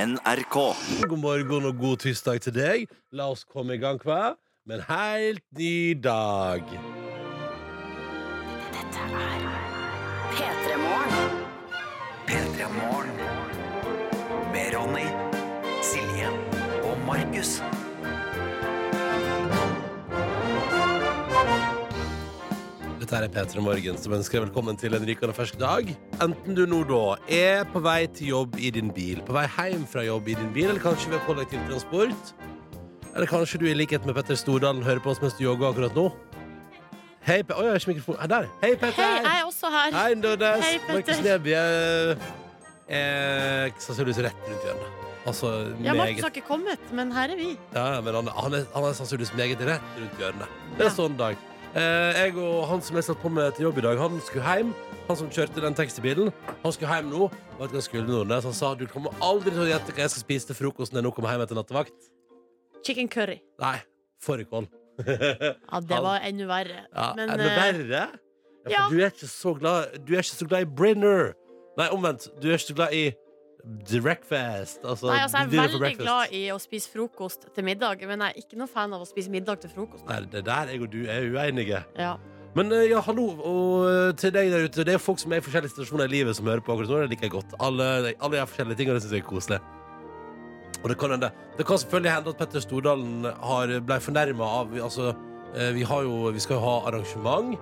NRK. God morgen og god tirsdag til deg. La oss komme i gang hver, men helt ny dag. P3morgen. P3 Morgen. Med Ronny, Silje og Markus. Dette er P3 Morgen, som ønsker deg velkommen til en rikende fersk dag. Enten du nå da er på vei til jobb i din bil, på vei hjem fra jobb i din bil, eller kanskje ved kollektivtransport. Eller kanskje du i likhet med Petter Stordalen hører på oss mens du jogger akkurat nå. Hei, Pe... Oi, jeg har ikke mikrofon. Ah, Der. Hei, Petter! Hei, jeg er også her. Hei, Nordnes. Hei, Petter. Markus Neby eh, er er sannsynligvis rett rundt hjørnet. Altså, Ja, meget- Markus har ikke kommet, men her er vi. Ja, men han, han, er, han er sannsynligvis meget rett rundt hjørnet. Det er Ja. sånn dag. Eh, jeg og han som jeg satt på med til jobb i dag, han skulle hjem. Han som kjørte den tekstibilen. Han skulle hjem nå. Vet du hva han skulle Nordnes? Han sa du kommer aldri til å gjette hva jeg skal spise til frokosten når jeg nå kommer hjem etter nattevakt. Chicken curry. Nei, fårikål. Ja, det var enda verre. Ja, Men, er det eh, verre? Ja, for ja. Du, er ikke så glad, du er ikke så glad i Brinner. Nei, omvendt. Du er ikke så glad i The Breakfast. Altså, Nei, altså, dyret jeg er for veldig breakfast. glad i å spise frokost til middag, men jeg er ikke noe fan av å spise middag til frokost. Nei, det der jeg og du er uenige. Ja. Men eh, ja, hallo og eh, til deg der ute. Det er folk som er i forskjellige situasjoner i livet som hører på akkurat nå. Det liker jeg godt. Alle, alle gjør forskjellige ting, og det syns jeg er koselig. Og det kan hende. Det kan selvfølgelig hende at Petter Stordalen har, ble fornærma av Altså, eh, vi har jo Vi skal jo ha arrangement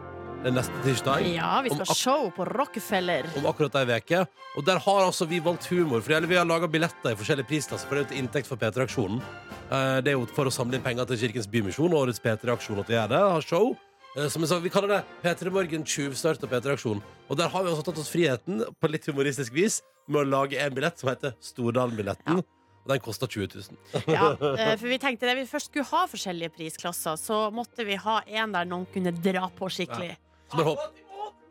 eh, neste tirsdag. ja, vi Om skal ak- ha show på Rockefeller. Om akkurat ei uke. Og der har altså vi valgt humor. For eller vi har laga billetter i forskjellige prisklasser. For det er jo til inntekt for P3-aksjonen. Eh, Det er jo for å samle inn penger til Kirkens Bymisjon og årets P3-aksjon at vi gjør det. Har show. Eh, Som jeg sa, vi kaller det P3 Morgen tjuvstart og P3-aksjon. Og der har vi også tatt oss friheten, på litt humoristisk vis, med å lage en billett som heter Stordalen-billetten. Og den koster 20 000. Ja, eh, for vi tenkte det vi først skulle ha forskjellige prisklasser, så måtte vi ha en der noen kunne dra på skikkelig. Så bare håp.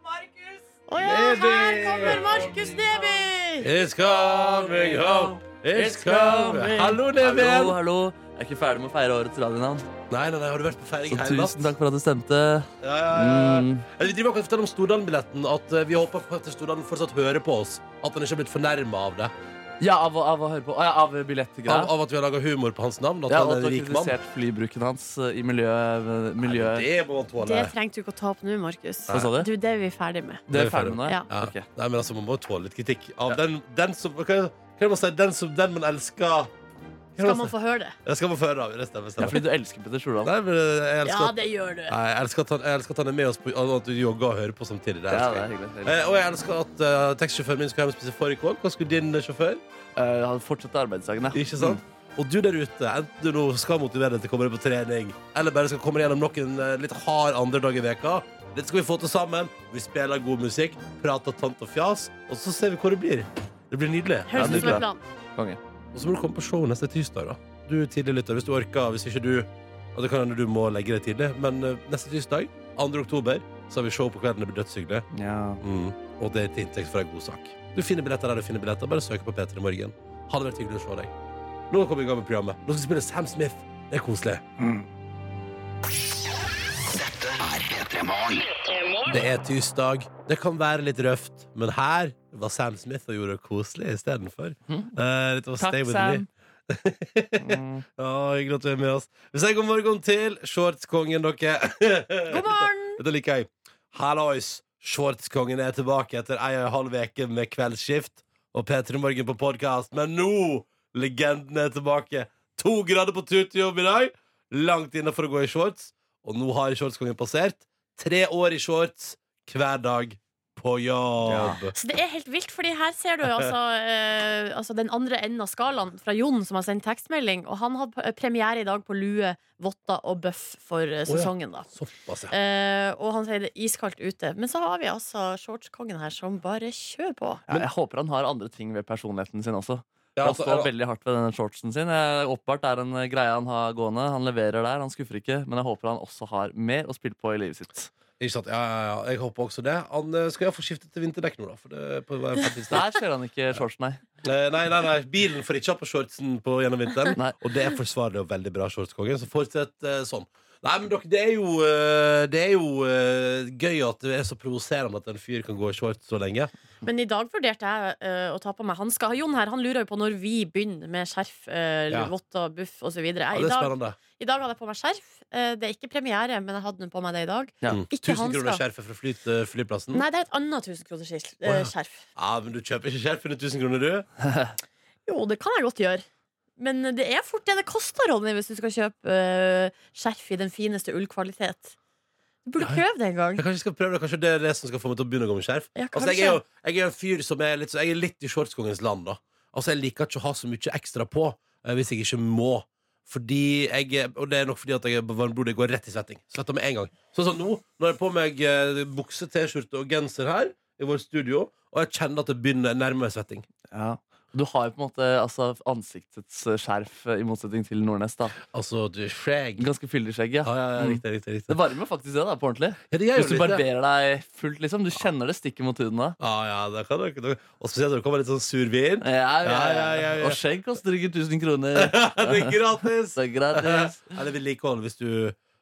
Å ja, her kommer Markus Neby! It's coming home. It's coming. Hallo, Hallo, Neven. hallo. Jeg er ikke ferdig med å feire årets radionavn. Nei, nei, nei, har du vært på feiring Så hele natt? tusen takk for at du stemte. Ja, ja, ja, ja. Mm. Eller, Vi driver akkurat og forteller om Stordalen-billetten. At eh, vi håper at Stordalen fortsatt hører på oss. At han ikke har blitt fornærma av det. Ja, av, å- av å høre på. Å, ja, av Av, billettgreia. av at vi har laga humor på hans navn. At Ja, og han at er en du har rik mann. kritisert flybruken hans eh, i miljø... eh, miljø. Nei, det må han tåle. Det trengte du ikke å ta opp nå, Markus. Hva sa du? Du, det er vi ferdig med. Det er ferdig med nå? Ja. Ja. Ok. Nei, men altså, Man må tåle litt kritikk. Av den, den som hva, er- hva er det man sier? Den som den man elsker altså. Skal man få høre det? Det skal man få høre av. Det stemmer. Ja, stemmer. fordi du elsker Petter Stordalen. Nei, men eh, jeg elsker, Ja, at- det gjør du. Nei, jeg elsker, at, han, jeg elsker at han er med oss på at du jogger og hører på samtidig. Det Ja, elsker det jeg. er hyggelig. Det er hyggelig. Eh, og jeg elsker at eh, tekstsjåføren min skal hjem og spise fårikål. Hva skulle din eh, sjåfør? Eh, han fortsetter arbeidsdagen, Mm. ja. Ikke sant? Mm. Og du der ute, enten du nå skal motivere deg til å komme deg på trening, eller bare skal komme deg gjennom noen eh, litt hard andre dag i veka, dette skal vi få til sammen. Vi spiller god musikk, prater tant og fjas, og så ser vi hvor det blir. Det blir nydelig. Ja, Høres det ut som er en plan. Konge. Og så må du komme på show neste tirsdag, da. Du er tidlig lytter, hvis du orker. Hvis ikke du Og det kan hende du må legge deg tidlig, men eh, neste tirsdag, 2. oktober, så har vi show på kvelden. Det blir dødshyggelig. Ja. Mm. Og det er til inntekt for en god sak. Du finner billetter der du finner billetter. Bare søk på P3 Morgen. Ha det vært hyggelig å se deg. Nå kommer vi i gang med programmet. Nå skal vi spille Sam Smith. Det er koselig. Mm. Det er tirsdag. Det kan være litt røft, men her var Sam Smith og gjorde det koselig istedenfor. Mm. Uh, Takk, Takk, Sam. Mm. Å, hyggelig at du er med oss. Vi sier god morgen til shortskongen, dere. God morgen! Dette liker jeg. Hallois! Shortskongen er tilbake etter ei og en halv uke med kveldsskift og P3 Morgen på podkast. Men nå! Legenden er tilbake. To grader på tur til jobb i dag. Langt inne for å gå i shorts. Og nå har shortskongen passert. Tre år i shorts hver dag på jobb. Så det er helt vilt, fordi her ser du altså, eh, altså den andre enden av skalaen fra Jon, som har sendt tekstmelding. Og han hadde eh, premiere i dag på lue, votter og bøff for eh, ja. sesongen, da. Såpass, ja. Eh, og han sier det er iskaldt ute. Men så har vi altså shortskongen her som bare kjører på. Ja, jeg håper han har andre ting ved personligheten sin også. Ja, Han altså, står veldig hardt ved denne shortsen sin. Eh, Åpenbart er en eh, greie han har gående. Han leverer der, han skuffer ikke. Men jeg håper han også har mer å spille på i livet sitt. ikke sant? Ja, ja, ja. Jeg håper også det. Han eh, skal iallfall skifte til vinterdekk nå, da. For det, er på, på, på tirsdag. Der ser han ikke shorts, nei. Eh, Nei, nei, nei, bilen får ikke ha på shortsen på gjennom vinteren. Nei. Og det er forsvarlig og veldig bra, shortskongen. Så fortsett eh, sånn. Nei, men dere, det er jo, eh, det er jo eh, gøy at det er så provoserende at en fyr kan gå i shorts så lenge. Men i dag vurderte jeg eh, å ta på meg hansker. Jon her, han lurer jo på når vi begynner med skjerf, eh, Ja. votter, buff osv. I, Ja, det er dag- spennende. I dag hadde jeg på meg skjerf. Eh, det er ikke premiere, men jeg hadde den på meg det i dag. Ja. Mm. Ikke 1000 kroner hansker. skjerfet fra fly til flyplassen. Nei, det er et annet 1000 kroners skjerf. eh, Mm. Å, ja. skjerf. Ja, men du kjøper ikke skjerf under 1000 kroner, du? Jo, det kan jeg godt gjøre. Men det er fort det det koster, Ronny, hvis du skal kjøpe eh, skjerf i den fineste ullkvalitet. Du burde prøve det en gang. Jeg kanskje skal prøve det, kanskje det er det som skal få meg til å begynne å gå med skjerf. Ja, altså, jeg er jo jeg er en fyr som er litt, så- jeg er litt i shortskongens land, da. Altså, jeg liker ikke å ha så mye ekstra på eh, hvis jeg ikke må. Fordi jeg, er- og det er nok fordi at jeg er varmblodig, jeg går rett i svetting. Svetter med en gang. Sånn som nå, når jeg har på meg eh, bukse, T-skjorte og genser her i vårt studio, og jeg kjenner at det begynner nærmere svetting. Ja. Du har jo på en måte altså, ansiktets eh, skjerf, eh, i motsetning til Nordnes. da Altså, du er skjegg. Ganske fyldig skjegg, ja. Ja, ja, ja, Mm. riktig, riktig, riktig. Det varmer faktisk det, da, på ordentlig. Ja, det gjør jo Hvis du litt det. barberer deg fullt, liksom. Du kjenner det stikker mot huden da. Ja, ja, det kan du ikke. Og spesielt når det kommer litt sånn sur vin. Ja, ja, Ja, ja, ja, ja, ja. Og skjegg koster ikke 1000 kroner. Det er gratis! Så gratis. Eller vedlikehold. Hvis du,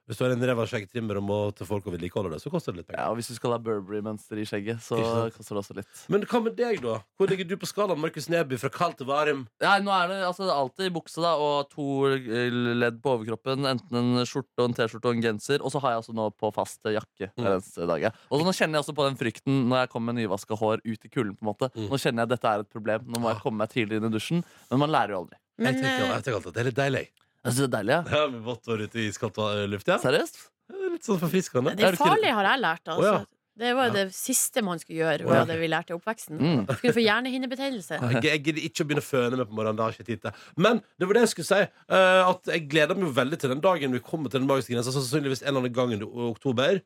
hvis du har en ræva skjeggtrimmer og må til folk og vedlikeholde det, så koster det litt penger. Ja, og hvis du skal ha Burberry-mønster i skjegget, så Ikke sant. koster det også litt. Men hva med deg, da? Hvor ligger du på skalaen Markus Neby fra kald til varm? Ja, nå er det altså, alltid bukse da, og to eh, ledd på overkroppen. Enten en skjorte og en T-skjorte og en genser. Og så har jeg altså nå på fast eh, jakke. Mm. hver eneste dag, ja. Og så Nå kjenner jeg også på den frykten når jeg kommer med nyvaska hår ut i kulden. på en måte. Mm. Ah. Nå kjenner jeg at dette er et problem. Nå må jeg komme meg tidligere inn i dusjen. Men man lærer jo aldri. Men jeg, tenker, eh, jeg tenker alltid at det er litt deilig. Jeg synes det er deilig, ja. Ja, Med vått hår ute i iskaldt eh, luft, ja. Seriøst? Det er Litt sånn forfriskende. det er du ikke- farlige har jeg lært, altså. Å, ja. Det var jo Ja. det siste man skulle Å, gjøre. ja. Var det vi lærte i oppveksten Mm. Skulle få hjernehinnebetennelse. Jeg, jeg gidder ikke å begynne å føle meg på morgenen. Det har jeg ikke tid til. Men det var det jeg skulle si. eh, at jeg gleder meg jo veldig til den dagen vi kommer til den magiske grensa. Sannsynligvis en eller annen gang i oktober.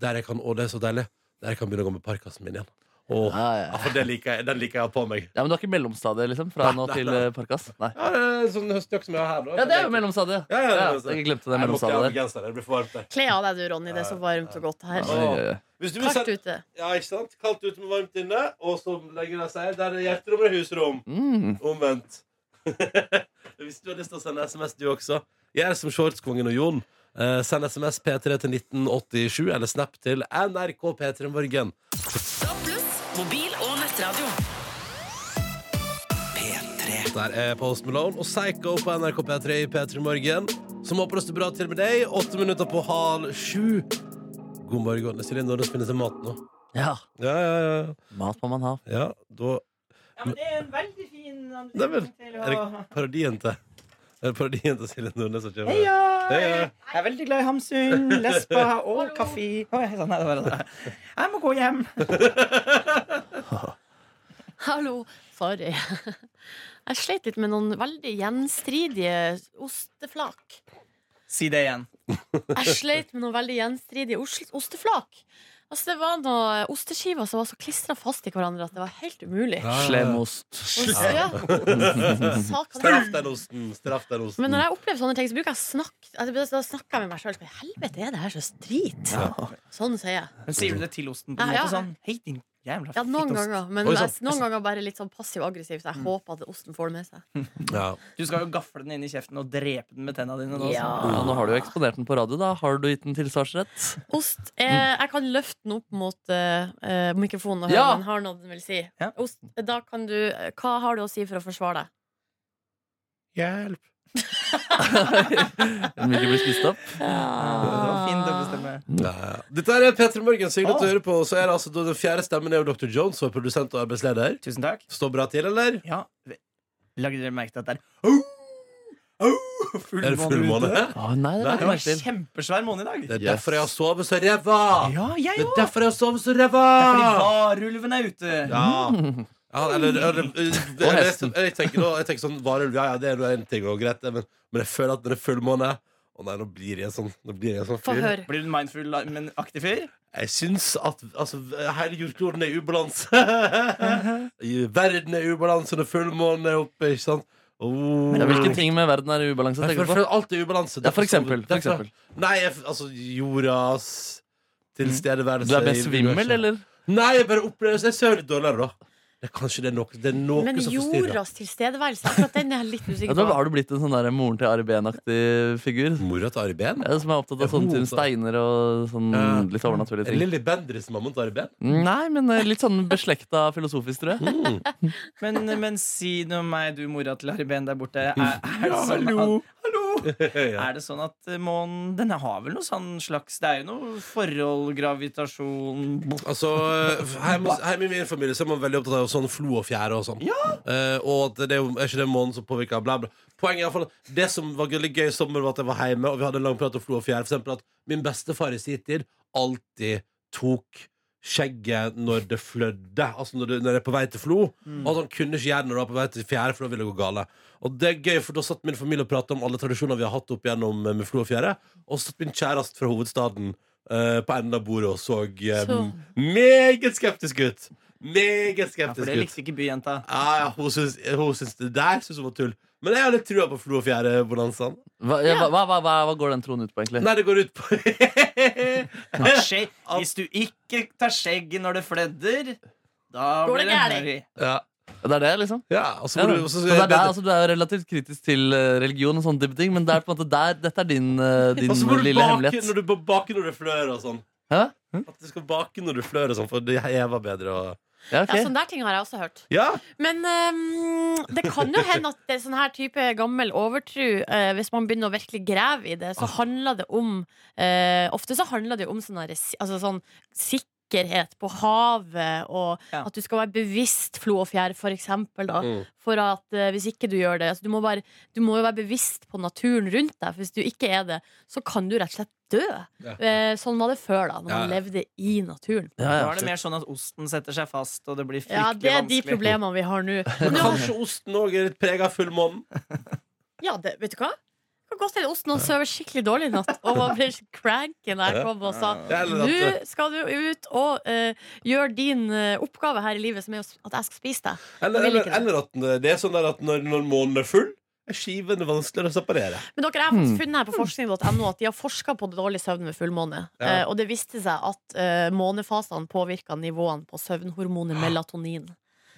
Der jeg kan, å, det er så deilig. Der jeg kan begynne å gå med parkasen min igjen. Åh, Ja, ja, ja, for det liker jeg, den liker jeg å ha på meg. Ja, men du har ikke mellomstadiet liksom, fra nå til eh, Parkas? Nei. Ja, det er sånn høstjakke som jeg har her. Da. Ja, det er jo mellomstadiet. Ja, ja, det er mellomstadiet. jeg glemte det Nei, jeg må ikke ha mellomstadiet der. genser, det blir for varmt der. Kle av deg, du, Ronny. Det er så varmt og godt her. Ja. Oi, oi, oi. Hvis du vil Kaldt sette ute. Ja, ikke sant? Kaldt ute med varmt inne, og som lenger jeg sier, der er hjerterom og husrom. Mm. Omvendt. Hvis du har lyst til å sende SMS, du også, gjør som shortskongen og Jon. Eh, send SMS P3 til 1987 eller snap til NRK P3 Morgen. Pluss mobil og nettradio. P3. Der er Post Malone og Psycho på NRK P3 i P3 Morgen, som håper det står bra til med deg. Åtte minutter på halv sju. God morgen. Silje Nordnes finner seg mat nå. Ja, Ja, ja, ja. mat må man ha. Ja, da Ja, men det er en veldig fin Det er vel- anledning til er å det parodien til Er det parodien til Silje Nordnes som kommer? Heia! Heia! Jeg er veldig glad i Hamsun, lesba og kaffe. Oi, sånn er det bare det. Jeg må gå hjem. Hallo. Sorry. Jeg sleit litt med noen veldig gjenstridige osteflak. Si det igjen. Jeg sleit med noen veldig gjenstridige os- osteflak. Altså, det var noen osteskiver som var så klistra fast i hverandre at det var helt umulig. Slemost. Og så- Ja. Saken Straff den osten! Straff den osten. Men når jeg opplever sånne ting, så bruker jeg snakk altså, Da snakker jeg med meg sjøl. Helvete, er det her så drit? Sånn sier jeg. Men sier du det til osten på Ja, en ja. måte sånn? Hei, din jævla Ja, noen fittost. ganger. Men Oi, jeg, sant. noen ganger bare litt sånn passiv-aggressiv, så jeg Mm. håper at osten får det med seg. ja. Du skal jo gafle den inn i kjeften og drepe den med tenna dine. nå, sånn. Ja. så. Ja, nå har du jo eksponert den på radio, da. Har du gitt den tilsvarsrett? Ost eh, Jeg kan løfte den opp mot eh, eh, mikrofonen og høre Ja. om den har noe den vil si. Ja. Ost, da kan du eh, Hva har du å si for å forsvare deg? Hjelp! Den vil ikke bli spist opp. Det var fint å bestemme. Ja. Dette er Petter Morgen, så hyggelig at du hører på. Og Så er det altså da Den fjerde stemmen er jo Dr. Jones, som er produsent og arbeidsleder. Tusen takk. Står bra til, eller? Ja, Lagde dere merke til at det er Er det full ute? måned? Å, nei, det Nei, var Det ikke var merke til. kjempesvær måne i dag. Det er Yes. derfor jeg har sovet så ræva! Ja, jeg Det er òg. derfor jeg har sovet så ræva! Fordi varulven er ute. Ja. ja eller, eller, eller, jeg, Mm. hesten. jeg, tenker, da- jeg tenker sånn varulv, ja ja, det er nå en ting og greit, det, men, men jeg føler at når det er fullmåne Å nei, nå blir jeg sånn. Nå blir jeg sånn Få fyr. høre. Blir du en mindful, men aktiv fyr? Jeg syns at altså, hele jordkloden er i ubalanse. I Verden er i ubalanse når fullmånen er oppe, ikke sant? Oh. Ja, hvilke ting med verden er i ubalanse? Jeg tenker føler, føler du på? alt er i ubalanse. Ja, Derfor for sover- eksempel, for derfor- eksempel. Nei, jeg, altså jordas tilstedeværelse Mm. Du i er mest svimmel, universet. eller? Nei, jeg bare opplever Jeg sover litt dårligere, da. Det er kanskje det er noe, det er noe Men som forstyrrer. jordas tilstedeværelse, akkurat den er jeg litt Ja, usikker da på. har du blitt en sånn der moren til Ari Behn-aktig figur. Mora til Ari Behn? Ja, som er opptatt av Ja, hun sånne opptatt. tyne steiner og sånn Ja. litt overnaturlige ting. Lilly Bendriss mamma til Ari Behn? Nei, men eh, litt sånn beslekta filosofisk, tror Mm. jeg. Men, men si noe om meg, du mora til Harry Behn der borte. Er, er, det sånn at, hallo. Ja. er det sånn at eh, månen Denne har vel noe sånn slags Det er jo noe forhold, gravitasjon Altså, Hjemme hjemme i min familie så er man veldig opptatt av sånn flo og fjære og sånn. Eh, og at det er, jo, er ikke det månen som påvirker bla, bla. Poenget er i hvert fall at Det som var veldig gøy i sommer, var at jeg var hjemme, og vi hadde en lang prat om flo og fjær. For eksempel at min bestefar i sin tid alltid tok skjegget når det flødde. Altså når det, når det er på vei til flo. Mm. Og at han kunne ikke gjøre det når det var på vei til fjære, for da ville det gå gale. Og det er gøy, for da satt min familie og pratet om alle tradisjoner vi har hatt opp igjennom eh, med flo og fjære. Og så satt min kjæreste fra hovedstaden eh, på enden av bordet og så, eh, Så. meget skeptisk ut. Meget Ja, for skeptisk det ut. likte ikke byjenta. Ja, ja, hun syns, hun syns det der syns hun var tull. Men jeg har litt trua på Flo og Fjære-bonanzaen. Hva, ja, hva, hva, hva, hva går den troen ut på, egentlig? Nei, det går ut på Ta skjegg. Hvis du ikke tar skjegget når det fledder, da Går det blir det gærlig. harry. Ja. Det er det, liksom? Ja, og så Ja, må da. du og så- Men det er der, altså, du er jo relativt kritisk til eh, religion, og sånne type ting men det er på en måte der, dette er din, eh, din Og så må du lille bake hemmelighet. når du, bake når du flør og sånn. Hæ? At du skal bake når du flør og sånn, for det hever bedre og Ja, ok. Ja, sånne der ting har jeg også hørt. Ja! Men ehm, det kan jo hende at det er sånn her type gammel overtro, eh, hvis man begynner å virkelig grave i det, så handler det om eh, Ofte så handler det jo om sånn her si- altså sånn sikkerhet på havet, og Ja. at du skal være bevisst flo og fjær, for eksempel, da. Mm. For at eh, hvis ikke du gjør det altså du, må bare, du må jo være bevisst på naturen rundt deg, for hvis du ikke er det, så kan du rett og slett dø. Ja. Eh, sånn var det før, da, når man Ja, ja. levde i naturen. ja, Da ja. er det mer sånn at osten setter seg fast, og det blir fryktelig Ja, det er de vanskelig. problemene vi har nå. Men Nå- kanskje osten òg er litt prega av fullmånen. Ja, det, vet du hva? Det kan godt hende osten han sover skikkelig dårlig i natt og man blir cranky når jeg kom og sa Ja, eller at- nå skal du ut og eh, gjøre din eh, oppgave her i livet, som er å s- at jeg skal spise deg. Eller, Vil eller, ikke det. eller at den- det er sånn der at når, når månen er full, er skivene vanskeligere å separere. Men dere jeg har Hmm. faktisk funnet her på forskning.no at de har forska på dårlig søvn ved fullmåne. Ja. Eh, og det viste seg at eh, månefasene påvirka nivåene på søvnhormonet melatonin. Eh,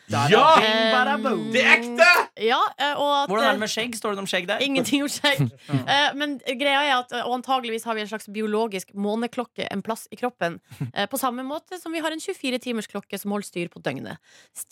Da er det Ja! bing, bada, boom. Det er ekte! Ja, eh, og at Hvordan er det med skjegg? Står det noe om skjegg der? Ingenting om skjegg. Eh, men greia er at eh, og antageligvis har vi en slags biologisk måneklokke en plass i kroppen. Eh, på samme måte som vi har en 24-timersklokke som holder styr på døgnet.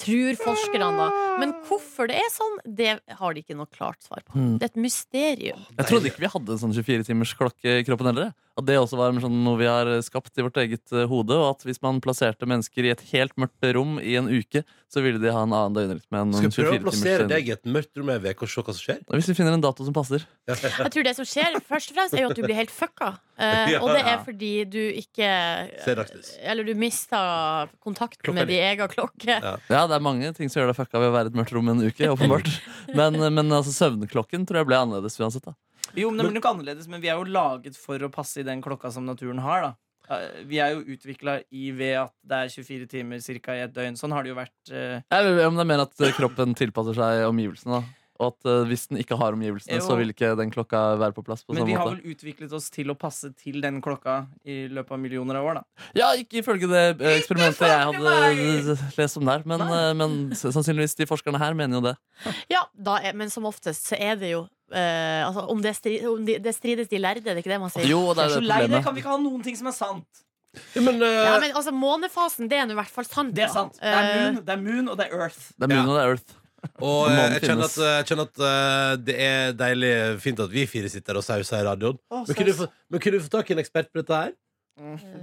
Tror forskerne, da. Men hvorfor det er sånn, det har de ikke noe klart svar på. Hmm. Det er et mysterium. Jeg trodde ikke vi hadde en sånn 24-timers klokke i kroppen heller. jeg. At det også var en sånn noe vi har skapt i vårt eget eh, hode. Og at hvis man plasserte mennesker i et helt mørkt rom i en uke, så ville de ha en annen døgnrytme enn Skal jeg en prøve å 24-timers plassere døgnrytme. deg i et mørkt rom i en uke og se hva som skjer? Hvis vi finner en dato som passer. Jeg tror det som skjer, først og fremst, er jo at du blir helt fucka. Eh, Ja. og det er fordi du ikke Ser dagslys. Eller du mister kontakt Klokka med di. din egen klokke. Ja. Ja, det er mange ting som gjør deg fucka ved å være i et mørkt rom en uke, åpenbart. Men, men altså, søvnklokken tror jeg ble annerledes uansett, da. Jo, men det blir nok annerledes, men vi er jo laget for å passe i den klokka som naturen har, da. Eh, Vi er jo utvikla i ved at det er 24 timer cirka i et døgn. Sånn har det jo vært. eh, Jeg vet om det er mer at eh, kroppen tilpasser seg omgivelsene, da. Og at eh, hvis den ikke har omgivelsene, Jo. så vil ikke den klokka være på plass på Men samme vi har måte. vel utviklet oss til å passe til den klokka i løpet av millioner av år, da. Ja, ikke ifølge det eh, eksperimentet jeg hadde eh, lest om der, men, eh, men s- sannsynligvis de forskerne her mener jo det. Ja, da er, men som oftest så er det jo eh, altså, om, det stri, om de, det strides de lærde, det er ikke det man sier? Jo, og det er Så det lei det problemet. kan vi ikke ha noen ting som er sant. Ja, men, eh, Ja, men altså Månefasen, det er nå i hvert fall sant. Det er da. sant. Det er Eh, moon, det er moon og det er earth. Det er moon Ja. og det er earth. Og eh, Månen jeg kjenner at, finnes. eh, jeg kjenner at eh, det er deilig fint at vi fire sitter og sauser i radioen. Å, men, kunne du få, men kunne du få tak i en ekspert på dette her?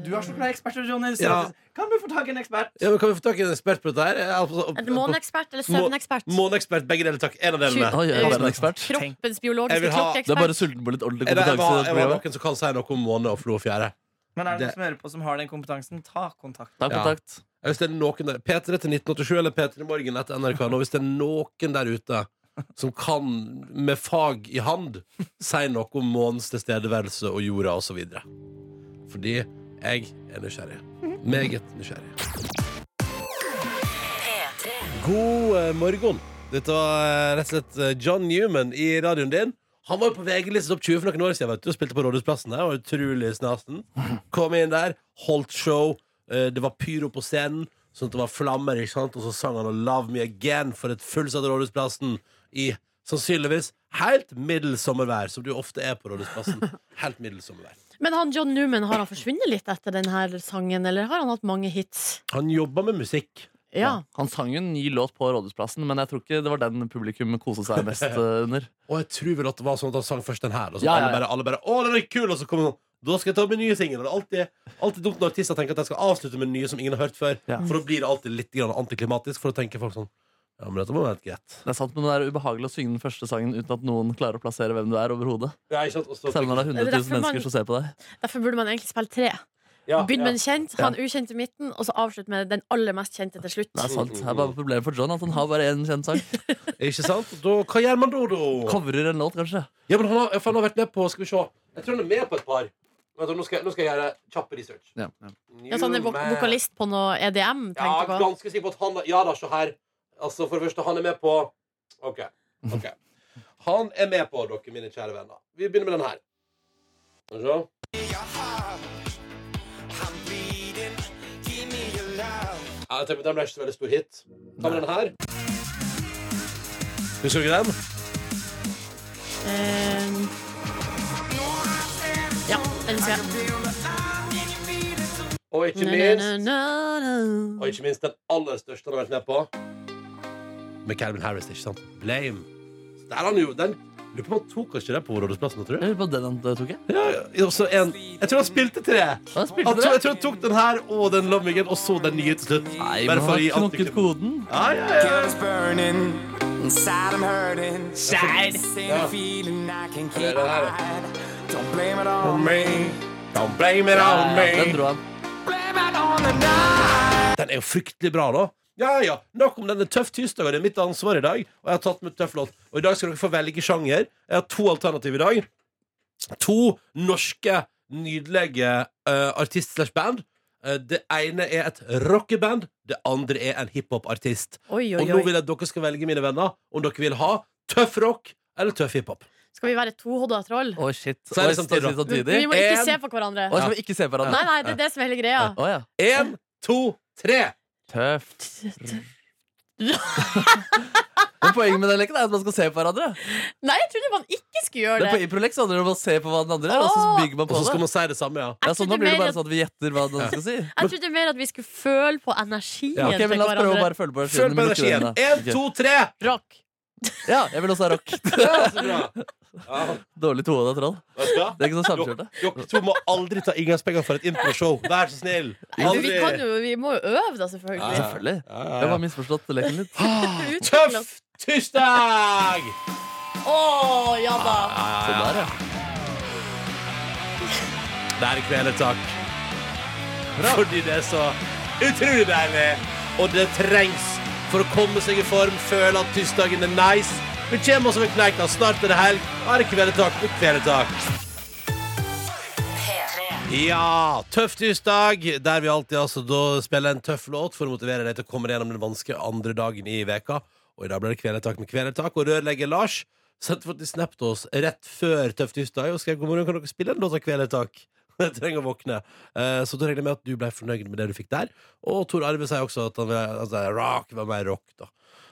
Du er så glad i eksperter, Johnny. Så Ja. Kan vi få tak i en ekspert? Ja, men kan vi få tak i en ekspert på dette her? Eh, altså, en Måneekspert eller søvnekspert? Må- Måneekspert, begge deler, takk. En av delene. Oi, jeg er Måneekspert. en ekspert. Kroppens Jeg biologiske vil ha- Du er bare klokkeekspert? sulten på litt ordentlig Jeg, jeg, kompetanse. i var, dette jeg var programmet. noen som kan si noe om måne og flo og fjære. Men er det Det- noen som hører på som har den kompetansen, ta kontakt. Ta kontakt. Ja, Hvis det er noen der P3 til 1987 eller P3 Morgen etter NRK nå, hvis det er noen der ute som kan, med fag i hand, si noe om månens tilstedeværelse og jorda osv. Fordi jeg er nysgjerrig. Meget nysgjerrig. God eh, morgen. Dette var eh, rett og slett eh, John Newman i radioen din. Han var jo på VG-listen opp 20 for noen år siden vet du, og spilte på Rådhusplassen. Der. Var utrolig snasen. Kom inn der, holdt show. Eh, Det var pyro på scenen. Sånn at det var flammer, ikke sant? Og så sang han 'Love Me Again' for et fullsatt Rådhusplassen i sannsynligvis helt middels sommervær, som du ofte er på Rådhusplassen. Helt middels sommervær. Men han John Newman, har han forsvunnet litt etter denne sangen, eller har han hatt mange hits? Han jobber med musikk. Ja. Han sang jo en ny låt på Rådhusplassen, men jeg tror ikke det var den publikum koste seg mest eh, under. Og jeg tror vel at det var sånn at han sang først den her, og så Ja, ja, alle bare, ja. alle bare 'Å, den er kul!' Og så kommer han da skal jeg ta med nye singler. Det er alltid, alltid dumt når artister tenker at de skal avslutte med nye som ingen har hørt før. Ja. For da blir det alltid litt grann antiklimatisk. For da tenker folk sånn Ja, men dette må være helt greit. Det er sant, men det er ubehagelig å synge den første sangen uten at noen klarer å plassere hvem du er overhodet. Ja, ikke sant? Og så- Selv når det er 100 Det er derfor 000 man- mennesker som ser på deg. Derfor burde man egentlig spille tre. Ja, Begynn ja. med en kjent, ha en ukjent i midten, og så avslutt med den aller mest kjente til slutt. Det er sant. Det er bare problemet for John at han har bare én kjent sang. Ikke sant? Da, hva gjør man da, da? Covrer en låt, kanskje. Ja, men han har, for han har vært med på Skal vi se. Jeg tror han er med på et par. Vent, da, nå, skal jeg, nå skal jeg gjøre kjapp research. Ja. Ja, så han er vok Newman. vokalist på noe EDM, Ja, tenkte jeg på. ganske sikker på at han er- Ja da, se her. Altså, for det første, han er med på OK. ok Han er med på, dere, mine kjære venner. Vi begynner med den her. Skal vi se. Ja, jeg tenker, Den ble ikke så veldig stor hit. Ta med den her. Husker du ikke den? Ehm. Ja, den husker jeg. Og ikke minst Og ikke minst den aller største han har vært med på. Med Calvin Harris, ikke sant? Blame. Så der er han jo den, Lurer på om han tok ikke det på Rådhusplassen, tror du? Jeg lurer på om den han eh, tok, jeg. Ja, ja, og så en, jeg tror han spilte tre. Han Han spilte tror, det. jeg tror han tok den her og den Love Me Again, og så den nye til slutt. Nei, Bare men for å gi han har knokket antiklimax. koden. Ja, ja, ja. Det er det her. Don't blame it on Ja, den me. dro han. Den er jo fryktelig bra, da. Ja, ja, Nok om denne tøff tirsdagen. Det er mitt ansvar i dag. Og jeg har tatt med tøff låt. Og i dag skal dere få velge sjanger. Jeg har to alternativ i dag. To norske nydelige eh, artist slash band. Eh, det ene er et rockeband. Det andre er en hiphop-artist. Oi, oi, Og nå oi. vil jeg at dere skal velge, mine venner, om dere vil ha tøff rock eller tøff hiphop. Skal vi være tohoda troll? Å, shit. Så er det liksom Oi, samtidig, da. Vi vi må En- ikke se på hverandre. Å, skal vi ikke se på hverandre? Nei, nei, det er det som er hele greia. Å ja. Én, to, tre. Tøft. Men poenget med den leken er at man skal se på hverandre. Nei, jeg trodde man ikke skulle Men gjøre på det. Improlex handler det om å se på hva den andre er, og så Åh! bygger man Og på så skal det. man si det samme, ja. Ja, Jeg sånn, da blir trodde det bare mer sånn at vi gjetter hva den skal si. Jeg trodde mer at vi skulle føle på energien Ja, Ok, til men La oss prøve å hverandre. bare følge på Følg på energien. øynene. Én, Ok. to, tre. Rock. Ja, jeg vil også ha rock. Ja, så bra. Ja, Dårlig tohånda troll. vet du hva? Det er ikke så samkjørte. Dere dere to må aldri ta inngangspenger for et improshow. Vær så snill. Men Altså, Vi, kan jo, vi må jo øve, Ja, da, selvfølgelig. ja. Selvfølgelig. Ja, ja, ja. Jeg har misforstått leken litt. Utvikle Tøff oss. tirsdag! Å, ja da. Så Sånn der, ja. Det er kvelertak. Fordi det er så utrolig deilig. Og det trengs for å komme seg i form, føle at tirsdagen er nice. Vi kommer oss over kneika. Snart er det helg. Da er det kvelertak med kvelertak. Ja! Tøff tirsdag, der vi alltid altså, da spiller en tøff låt for å motivere deg til å komme deg gjennom den vanskelige andre dagen i veka. Og i dag ble det kvelertak med kvelertak, og rørlegger Lars sendte faktisk snap til oss rett før Tøff tirsdag og skrev god morgen, kan dere spille en låt av Kvelertak? Jeg trenger å våkne. Eh, Så da regner jeg med at du ble fornøyd med det du fikk der. Og Tor Arve sier også at han vil, altså, rock var mer rock, da.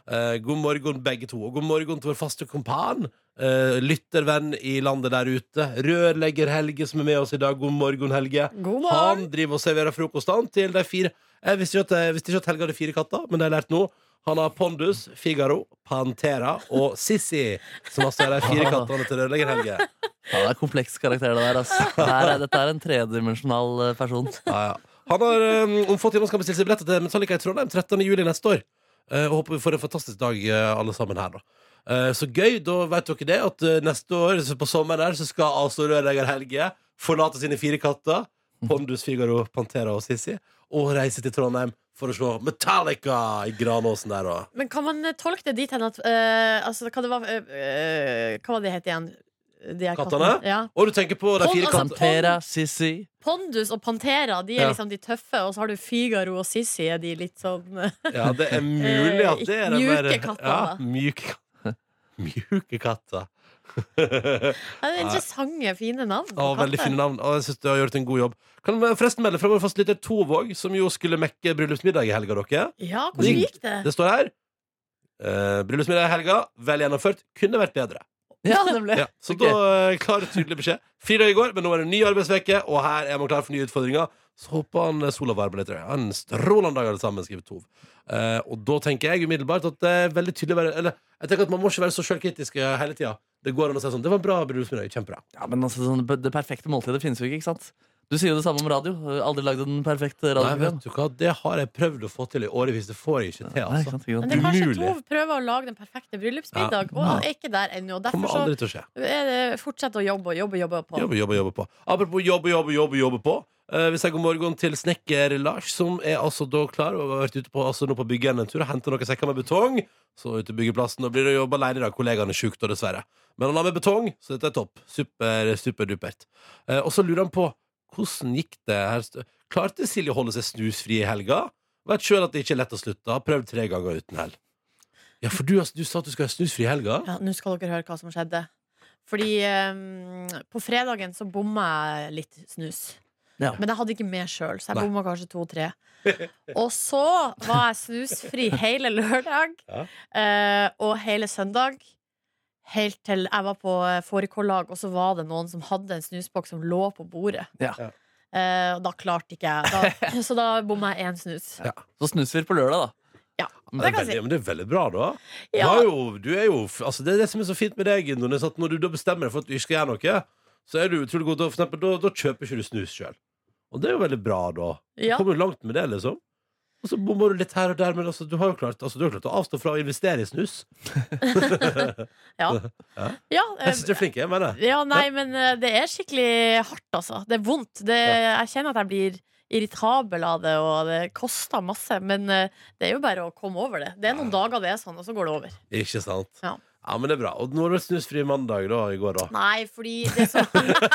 Eh, god morgen, begge to. Og god morgen til vår faste kompan. eh, lyttervenn i landet der ute. Rørlegger Helge som er med oss i dag. God morgen, Helge. God morgen. Han driver og serverer frokost han, til de fire. Jeg visste, jo at, jeg visste ikke at Helge hadde fire katter, men det har jeg lært nå. Han har Pondus, Figaro, Pantera og Sissi, som altså er de fire kattene til rørlegger Helge. ja, det er kompleks karakter, det der. Altså. Det her er, dette er en tredimensjonal eh, person. Ja, ja. Han har eh, om få timer skal bestille seg billetter til Metallica i Trondheim 13. juli neste år. Eh, og håper vi får en fantastisk dag, eh, alle sammen her, da. Eh, så gøy. Da vet dere det, at eh, neste år så på sommeren her, så skal altså rørlegger Helge forlate sine fire katter, Pondus, Figaro, Pantera og Sissi, og reise til Trondheim for å se Metallica i Granåsen der, da. Men kan man eh, tolke det dit hen at eh, altså, hva, det var, eh, eh, hva var det het igjen? De her Kattene? kattene? Ja. Og du tenker på de fire Pond- altså, kattene Pantera, Sissy Pondus og Pantera De er Ja. liksom de tøffe, og så har du Figaro og Sissi. Er de litt sånn eh, Ja, det er mulig at det er den Mjuke der- katter, Ja, da. mjuke katter. Mjuke katter. Ja, det er interessante, fine navn. på Og veldig katter. fine navn. Og jeg synes du har gjort en god jobb. Kan jeg forresten melde fra vår fastlytter Tovåg, som jo skulle mekke bryllupsmiddag i helga, dere. Ja, hvordan gikk det? Det står her. Uh, bryllupsmiddag i helga, vel gjennomført. Kunne vært bedre. Ja, nemlig. Ja, så Ok. da eh, klar og tydelig beskjed. Fire dager i går, men nå er det en ny arbeidsveke og her er man klar for nye utfordringer. Så håper han eh, sola varmer litt. Ha en strålende dag, alle sammen, skriver Tov. Eh, og da tenker jeg umiddelbart at det er veldig tydelig å være Eller jeg tenker at man må ikke være så sjølkritisk eh, hele tida. Det går an å si sånn Det var en bra bryllupsmiddag. Kjempebra. Ja, men altså, sånn, Det perfekte måltidet finnes jo ikke, ikke sant? Du sier jo det samme om radio. Aldri lagd en perfekt Nei, vet radioprogram. du hva, det har jeg prøvd å få til i årevis. Det får jeg ikke til, Nei, ikke altså. sant, ikke Men sant. det er kanskje Umulig. Tov prøver å lage den perfekte bryllupsmiddag, og han er ikke der ennå. Derfor Kommer så aldri til å skje. er det fortsett å jobbe og jobbe og jobbe på. Jobbe, jobbe, jobbe på. Apropos jobbe, jobbe, jobbe, jobbe på. Eh, vi sier god morgen til snekker Lars, som er altså da klar og har vært ute på, altså nå på byggen en tur og henta noen sekker med betong. Så ut til byggeplassen. Og blir det jobb alene i dag. Kollegaen er sjuk, da, dessverre. Men han har med betong, så dette er topp. Super, superdupert. Eh, og så lurer han på hvordan gikk det her st- Klarte Silje å holde seg snusfri i helga? Vet sjøl at det ikke er lett å slutte. Har prøvd tre ganger uten hell. Ja, for du, altså, du sa at du skal ha snusfri i helga? Ja, Nå skal dere høre hva som skjedde. Fordi eh, på fredagen så bomma jeg litt snus. Ja. Men jeg hadde ikke mer sjøl, så jeg Nei. bomma kanskje to-tre. Og så var jeg snusfri hele lørdag Ja. eh, og hele søndag. Helt til jeg var på eh, fårikållag, og så var det noen som hadde en snusboks som lå på bordet. Ja. Ja. Eh, og da klarte ikke jeg. Da, så da bomma jeg én snus. Så snusfyr på lørdag, da. Ja, Det det kan er jeg si. veldig, men det er veldig bra, da. Du, Ja. har jo, du er jo altså Det er det som er så fint med deg, Nordnes, at når du da bestemmer deg for at du ikke skal gjøre noe, så er du utrolig god til å- for eksempel, da, da kjøper ikke du snus sjøl. Og det er jo veldig bra, da. Ja. Du kommer jo langt med det, liksom. Og så bommer du litt her og der, men altså, du har jo klart, altså, du har klart å avstå fra å investere i snus. Ja. Ja. Ja, eh, Jeg syns du er flink, jeg mener det. ja, nei, men eh, det er skikkelig hardt, altså. Det er vondt. Det, jeg kjenner at jeg blir irritabel av det, og det koster masse. Men eh, det er jo bare å komme over det. Det er noen dager det er sånn, og så går det over. Ikke sant? Ja. men det er bra. Og nå var det snusfri mandag da, i går, da. Nei, fordi det som,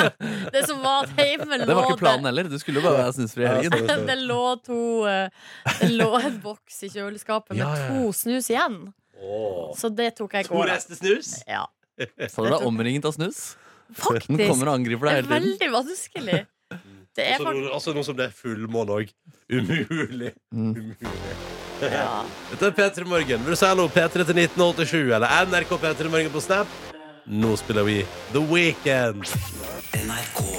det som var at hjemme lå Det var ikke planen der- heller. Du skulle jo bare være snusfri i Ja, helgen. stemmer, det stemmer. lå to eh, Det lå en boks i kjøleskapet med Ja, ja, ja. to snus igjen. Åh. Så det tok jeg i To går. da. rester snus? Ja. Så du deg omringet av snus? Den Faktisk. kommer og angriper Det deg er hele tiden. veldig vanskelig. Det er Altså faktisk noe, altså noe som det er fullmåne òg. Umulig. Mm. Umulig. ja. Dette er P3 Morgen. Vil du si hallo P3 til 1987 eller NRK P3 Morgen på Snap? Nå spiller vi The Weekend. NRK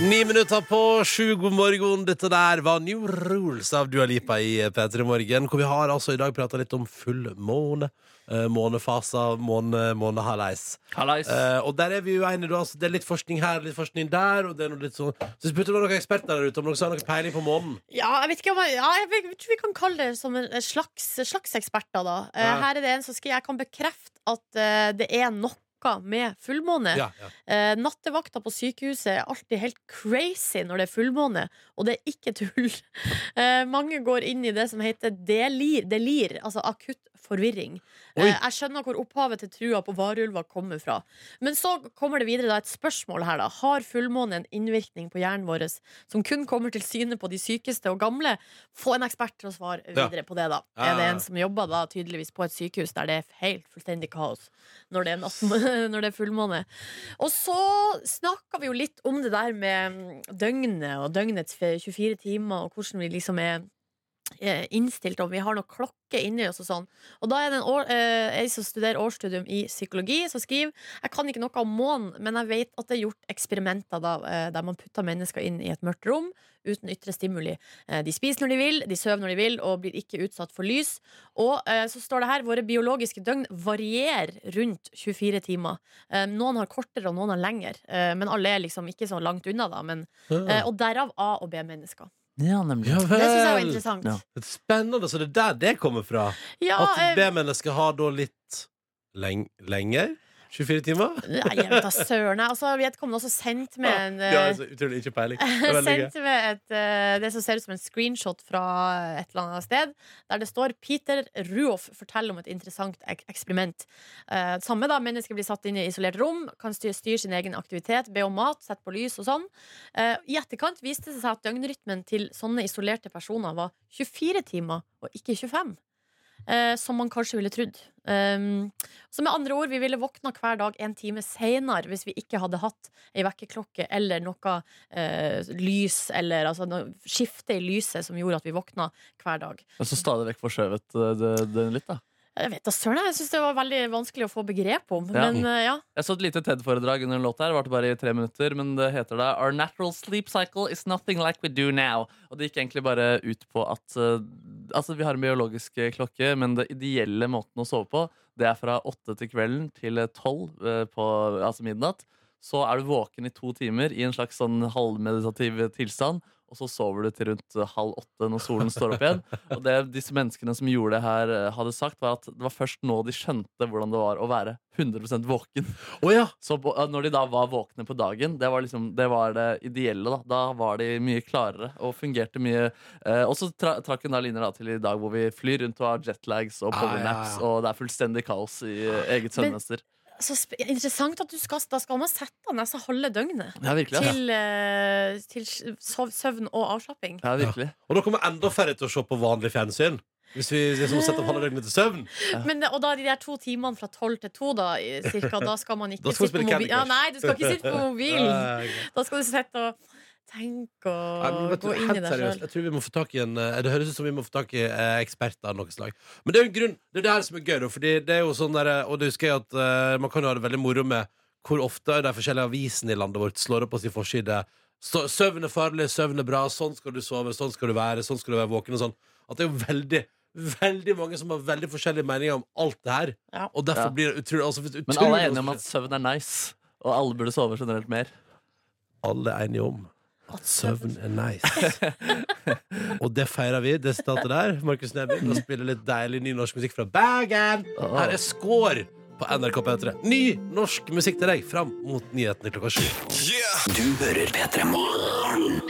Ni minutter på sju, god morgen. Dette der var New Rules av Dua Lipa i P3 Morgen, hvor vi har altså i dag prata litt om fullmåne. eh, Månefaser, måne, månehalvveis. Hallais. Eh, og der er vi jo enige, da. Altså, det er litt forskning her, litt forskning der. Og det er noe litt sånn Så spurte noen eksperter der ute om noen som har noen peiling på månen. Ja, jeg vet ikke om jeg, ja, jeg vet- jeg tror vi kan kalle det som en en slags, slags eksperter, da. Eh, Ja. Her er det en som skriver jeg kan bekrefte at eh, det er noe med fullmåne. Ja, ja. Eh, nattevakta på sykehuset er alltid helt crazy når det er fullmåne, og det er ikke tull. Eh, mange går inn i det som heter delir, delir altså akutt forvirring. Oi. Eh, jeg skjønner hvor opphavet til trua på varulva kommer fra. Men så kommer det videre da et spørsmål her, da. Har fullmåne en innvirkning på hjernen vår som kun kommer til syne på de sykeste og gamle? Få en ekspert til å svare Ja. videre på det, da. Ja, ja, Er det ja. en som jobber da tydeligvis på et sykehus der det er helt fullstendig kaos når det er, natt, når det er fullmåne? Og så snakka vi jo litt om det der med mm, døgnet og døgnets fe- 24 timer, og hvordan vi liksom er eh, innstilt, og vi har noe klokke inni oss og sånn. Og da er det en år, eh, ei som studerer årsstudium i psykologi, som skriver Jeg kan ikke noe om månen, men jeg vet at det er gjort eksperimenter da, eh, der man putter mennesker inn i et mørkt rom uten ytre stimuli. Eh, De spiser når de vil, de sover når de vil, og blir ikke utsatt for lys. Og eh, så står det her våre biologiske døgn varierer rundt 24 timer. Eh, Noen har kortere, og noen har lengre. Eh, Men alle er liksom ikke så langt unna, da. Men, eh, og derav A- og B-mennesker. Ja, nemlig. Eh, Ja Det syns vel. jeg var interessant. Ja. Spennende, så det er der det kommer fra. Ja, eh, At B-mennesket har da litt leng lenger? 24 timer? Nei, jeg vet da søren. jeg. Altså, Vedkommende også sendt med en Ja, altså, jeg har eh, så utrolig ikke peiling. Det er veldig gøy. sendt med et, eh, det som ser ut som en screenshot fra et eller annet sted, der det står Peter Ruoff forteller om et interessant ek eksperiment. Eh, samme da, Mennesker blir satt inn i isolert rom, kan styre, styre sin egen aktivitet, be om mat, sette på lys og sånn. Eh, I etterkant viste det seg at døgnrytmen til sånne isolerte personer var 24 timer og ikke 25. eh, som man kanskje ville trodd. Um, så med andre ord, vi ville våkna hver dag en time seinere hvis vi ikke hadde hatt ei vekkerklokke eller noe eh, lys, eller altså noe skifte i lyset som gjorde at vi våkna hver dag. Men så stadig vekk forskjøvet eh, det- den litt, da. Jeg vet da søren, jeg syns det var veldig vanskelig å få begrep om, Ja. men eh, ja. Jeg så et lite TED-foredrag under en låt her. Varte bare i tre minutter, men det heter da Our natural sleep cycle is nothing like we do now. Og det gikk egentlig bare ut på at eh, Altså, vi har en biologisk eh, klokke, men det ideelle måten å sove på, det er fra åtte til kvelden til eh, tolv, eh, på, altså midnatt. Så er du våken i to timer i en slags sånn halvmeditativ tilstand. Og så sover du til rundt eh, halv åtte når solen står opp igjen. Og det disse menneskene som gjorde det her, eh, hadde sagt, var at det var først nå de skjønte hvordan det var å være 100 våken. Å ja! Så på, ja, når de da var våkne på dagen, det var liksom det, var det ideelle. Da Da var de mye klarere og fungerte mye. Eh, og så tra, trakk hun da linjer da til i dag hvor vi flyr rundt og har jetlags og Ah, ja, ja, powernaps, ja. og det er fullstendig kaos i eh, eget Men- søvnmønster. Så sp interessant at du skal, da skal man sette av nesten halve døgnet Ja, virkelig. altså. ass. til, eh, til sov, søvn og avslapping. Ja, virkelig. Og da kommer enda færre til å se på vanlig fjernsyn. Hvis vi liksom setter opp halve døgnet til søvn. Men, og da de der to timene fra tolv til to, da, i- cirka, da skal man ikke Da skal man sitte spille på Candy mobil. Ja, Crush. nei, du skal ikke sitte på mobilen. Eh, Da skal du sitte og tenke Nei, men og vet du, gå inn i helt deg seriøst, sjøl. jeg tror vi må få tak i en eh, Det høres ut som vi må få tak i eh, eksperter av noe slag. Men det er jo en grunn, det er det her som er gøy, da, fordi det er jo sånn der, og det husker jeg at eh, man kan jo ha det veldig moro med hvor ofte de forskjellige avisene i landet vårt slår opp på sin forside. Så, søvn er farlig, søvn er bra, sånn skal du sove, sånn skal du være, sånn skal du være våken og sånn. At det er jo veldig, veldig mange som har veldig forskjellige meninger om alt det her. Ja. Og derfor Ja. blir det utrolig altså, utrolig- Men alle er enige om at søvn er nice, og alle burde sove generelt mer. alle er enige om at søvn er nice. og det feirer vi, det sitatet der. Markus Neby kan spille litt deilig ny norsk musikk fra Bergen. Her er Skår på NRK P3. Ny norsk musikk til deg fram mot nyhetene klokka sju. Du hører P3 Morgen.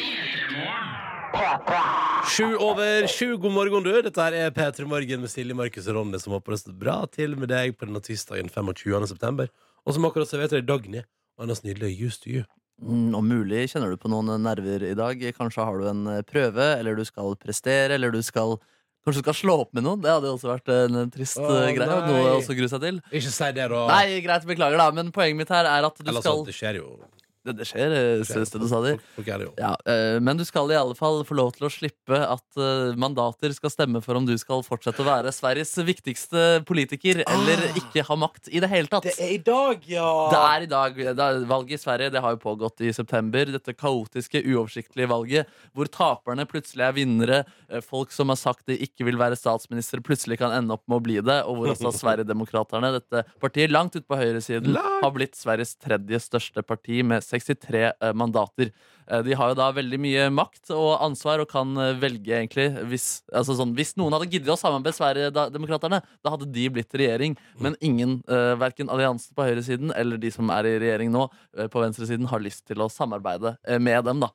Sju over sju, god morgen, du. Dette her er P3 Morgen med Silje, Markus og Ronny, som håper det står bra til med deg på denne tirsdagen 25. september. Og som akkurat serverte deg Dagny og hennes nydelige Used to You. Mm, Om mulig kjenner du på noen eh, nerver i dag. Kanskje har du en eh, prøve, eller du skal prestere, eller du skal Kanskje du skal slå opp med noen. Det hadde jo også vært en trist Å, eh, greie. og nei. Noe også å grue seg til. Ikke si det, da. Nei, greit, beklager, da. Men poenget mitt her er at du Eller skal sånn, det skjer jo. Det, det skjer, eh, støtte, sa de. Folk- folk er det jo. Ja, eh, men du skal i alle fall få lov til å slippe at eh, mandater skal stemme for om du skal fortsette å være Sveriges viktigste politiker eller ikke ha makt i det hele tatt. Ah. er i dag, ja. Det er i dag, det er Valget i Sverige det har jo pågått i september. Dette kaotiske, uoversiktlige valget hvor taperne plutselig er vinnere. eh, Folk som har sagt de ikke vil være statsminister, plutselig kan ende opp med å bli det. Og hvor altså Sverigedemokraterna, dette partiet langt ute på høyresiden, har blitt Sveriges tredje største parti med 63 eh, mandater. Eh, De har jo da veldig mye makt og ansvar og kan eh, velge, egentlig. Hvis, altså sånn, hvis noen hadde giddet å samarbeide med Sverigedemokraterna, da hadde de blitt regjering. Men ingen, eh, verken alliansen på høyresiden eller de som er i regjering nå, eh, på venstresiden, har lyst til å samarbeide eh, med dem, da.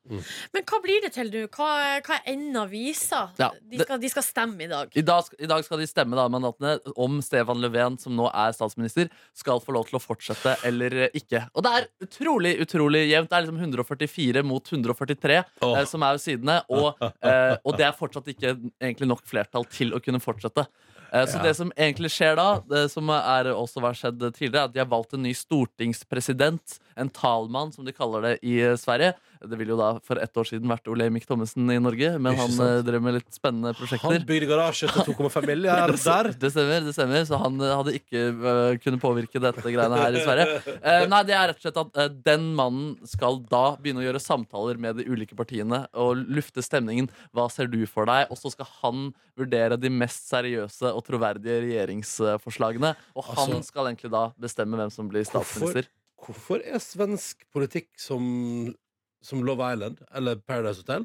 Men hva blir det til nå? Hva, hva er enden av visa? Ja, de, det- skal, de skal stemme i dag. I dag, I dag skal de stemme da, mandatene om Stefan Löfven, som nå er statsminister, skal få lov til å fortsette eller ikke. Og det er utrolig utrolig jevnt. Det er liksom 144 mot 143 Åh. eh, som er ved sidene. Og, eh, og det er fortsatt ikke egentlig nok flertall til å kunne fortsette. Eh, Så Ja. det som egentlig skjer da, det som er også har skjedd tidligere, er at de har valgt en ny stortingspresident, en talmann, som de kaller det i eh, Sverige. Det ville jo da for ett år siden vært Olemic Thommessen i Norge, men Ikke han sant? eh, drev med litt spennende prosjekter. Han bygde garasje til 2,5 milliarder der. Det stemmer, det stemmer. Så han eh, hadde ikke eh, kunnet påvirke dette greiene her i Sverige. Eh, nei, det er rett og slett at eh, den mannen skal da begynne å gjøre samtaler med de ulike partiene og lufte stemningen. Hva ser du for deg? Og så skal han vurdere de mest seriøse og troverdige regjeringsforslagene. Og han Altså- skal egentlig da bestemme hvem som blir statsminister. Hvorfor er svensk politikk som, som Love Island eller Paradise Hotel?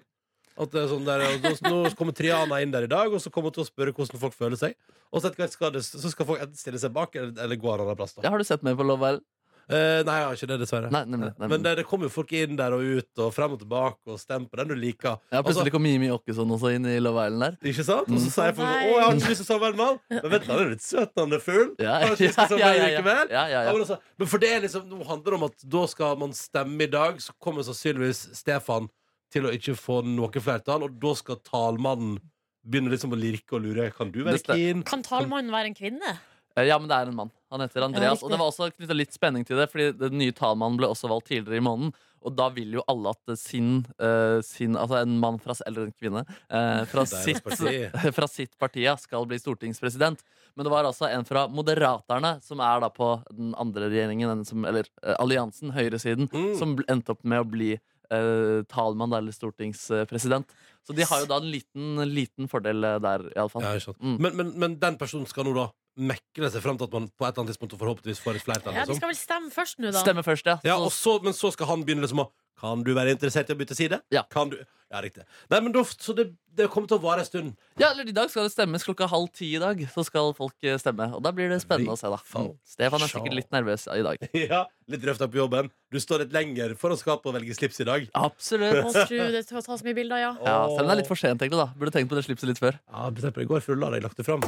At det er sånn der, og da- Nå kommer Triana inn der i dag, og så kommer hun til å spørre hvordan folk føler seg. Og så, etter hvert skal det, så skal folk enten stille seg bak eller, eller gå en annen plass. Da. Ja, har du sett mer på Love Island? Eh, nei, jeg har ikke det, dessverre. Nei, nemlig, nemlig. Men det, det kommer jo folk inn der og ut, og frem og tilbake, og stem på den du liker. Ja, Altså, plutselig kom Mimi Åkesson også inn i Love Island der. ikke sant? Og Mm. så sier folk sånn 'Å, Nei. jeg har ikke lyst til å samarbeide med han', men vent, han er litt søt, han er full. Ja, Har ikke lyst til å ja, samarbeide ja, ja. likevel. Ja, ja, Ja, men, ja. altså, men for det er liksom, nå handler det om at da skal man stemme i dag, så kommer sannsynligvis Stefan til å ikke få noe flertall, og da skal talmannen Begynner liksom å lirke og lure. Kan du være Det stem- keen? Kan talmannen være en kvinne? Eh, Ja, men det er en mann. Han heter Andreas. riktig. og det var også knyttet litt spenning til det, fordi den nye talmannen ble også valgt tidligere i måneden. Og da vil jo alle at sin, eh, sin Altså en mann fra s- Eller en kvinne. eh, fra, Det er et sitt, parti. fra sitt parti ja, skal bli stortingspresident. Men det var altså en fra Moderaterne, som er da på den andre regjeringen, den som, eller eh, alliansen, høyresiden, Mm. som bl- endte opp med å bli eh, talmann da, eller stortingspresident. Så de har jo da en liten, liten fordel eh, der, iallfall. Ja, ikke sant. Mm. Men, men, men den personen skal nå da mekle seg fram til at man på et eller annet tidspunkt forhåpentligvis får et flertall. sånn. Ja, De Liksom. skal vel stemme først nå, da. Stemmer først, ja. Ja, Så- og så, men så skal han begynne liksom å Kan du være interessert i å bytte side? Ja. Kan du? Ja, riktig. Nei, men da, så det, det kommer til å vare en stund. Ja, eller I dag skal det stemmes klokka halv ti. i dag Så skal folk eh, stemme. Og da blir det spennende å se, da. Fy Mm. Stefan er faen. sikkert litt nervøs i dag. Ja, Litt røft opp i jobben. Du står litt lenger foran skapet og velger slips i dag. Absolutt. Å, tru, det tar så mye bilder, ja. Ja, Selv om det er litt for sent, egentlig. da Burde tenkt på det slipset litt før. Ja, bestemmer jeg. I går fulla da jeg lagt det fram.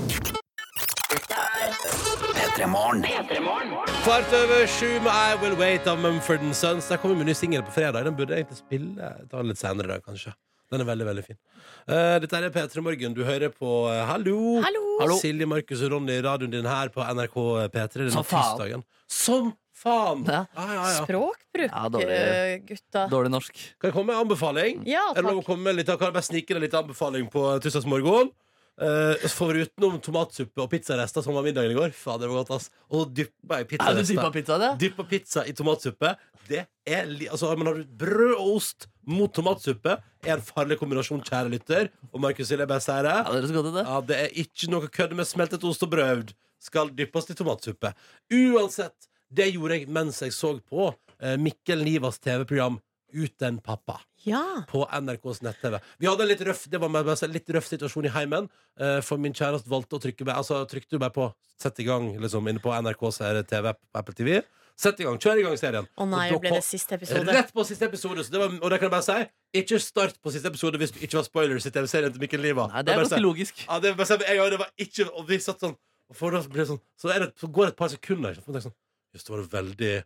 P3morgen. Kvart over sju med I Will Wait av Mumford and Sons. Der kommer min nye singel på fredag. Den burde jeg egentlig spille ta den litt senere, i dag, kanskje. Den er veldig, veldig fin. Eh, dette er P3 Morgen. Du hører på eh, Hallo! Hallo! Hallo. Silje, Markus og Ronny i radioen din her på NRK P3 denne Som faen. tirsdagen. Som faen! Ja. Ja, ja, ja. Språkbruk, Ja, dårlig. eh, gutta. Dårlig norsk. Kan jeg komme med en anbefaling? Ja, Er det lov å takk. komme med litt, kan jeg bare snike deg litt anbefaling på eh, tirsdagsmorgen? Uh, for utenom tomatsuppe og pizzarester som var middagen i går Fader, det var godt, ass. Og dyppa i Er du dypa pizzarester. pizza, det? Dyppa pizza i tomatsuppe. Det er li altså, men har du brød og ost mot tomatsuppe, er en farlig kombinasjon, kjære lytter. Og Markus vil jeg bare si det. Ja, dere så godt i det. Ja, det er ikke noe kødd med smeltet ost og brød. Skal dyppes i tomatsuppe. Uansett, det gjorde jeg mens jeg så på eh, Mikkel Nivas TV-program Uten pappa Ja. på NRKs nett-TV. Vi hadde en litt røff, det var med, med, litt røff situasjon i heimen, eh, for min kjæreste valgte å trykke meg Altså trykte hun meg på 'sett i gang' liksom, inne på NRKs TV på Apple TV. Sett i gang, kjør i gang serien. Å nei, Og da ble kom- det siste episode? Rett på siste episode. Så det var, og det kan jeg bare si. Ikke start på siste episode hvis du ikke var spoilers i TV-serien til Mikkel Niva. Nei, Jeg Det er bare sier- ganske logisk. ja, det, var- jeg, og det var ikke Og vi satt sånn og for, da ble det sånn, Så, er det, så går det et par sekunder ikke sant, og tenker sånn, Just, det var det veldig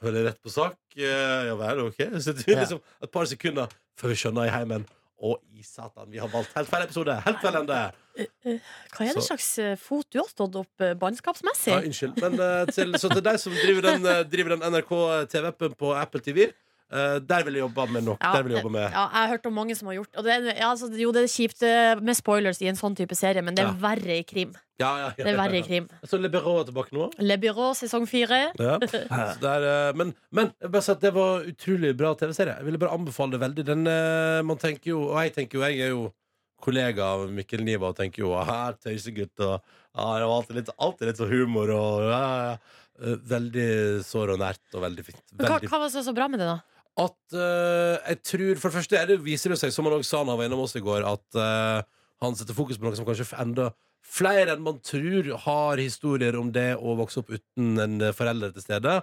Veldig rett på sak eh, Ja vel, ok Så det er Ja. liksom et par sekunder Før vi skjønner i heimen Å, i satan, vi har valgt helt feil episode Helt feil ende Hva er det Så- slags eh, fot du har stått opp eh, bannskapsmessig? Ja, unnskyld Men eh, til, så til deg som driver den, eh, driver den NRK TV-appen på Apple TV eh, Der vil jeg jobbe med nok Ja, Der vil jeg jobbe med Ja, jeg har hørt om mange som har gjort og det. er- Ja, altså, jo, det er kjipt eh, med spoilers i en sånn type serie, men det Ja. er verre i krim. ja, ja, ja, Det er verre i ja, krim. ja. Så Le Bureau er tilbake nå Le Bureau sesong fire. Ja. Så det er, eh, men men jeg vil bare si at det var utrolig bra TV-serie. Jeg ville bare anbefale det veldig. Den, eh, man tenker jo, og jeg tenker jo, jeg er jo kollega av Mikkel Niva og tenker jo her, tøysegutt, og ja, det var alltid litt, alltid litt så humor og ja, ja, ja. Eh, Veldig sår og nært og veldig fint. Men hva, Veldig hva var så, så bra med det, da? at eh, jeg tror For det første er det, viser det seg, som han også sa da han var innom oss i går, at eh, han setter fokus på noe som kanskje enda flere enn man tror har historier om det å vokse opp uten en eh, forelder til stede.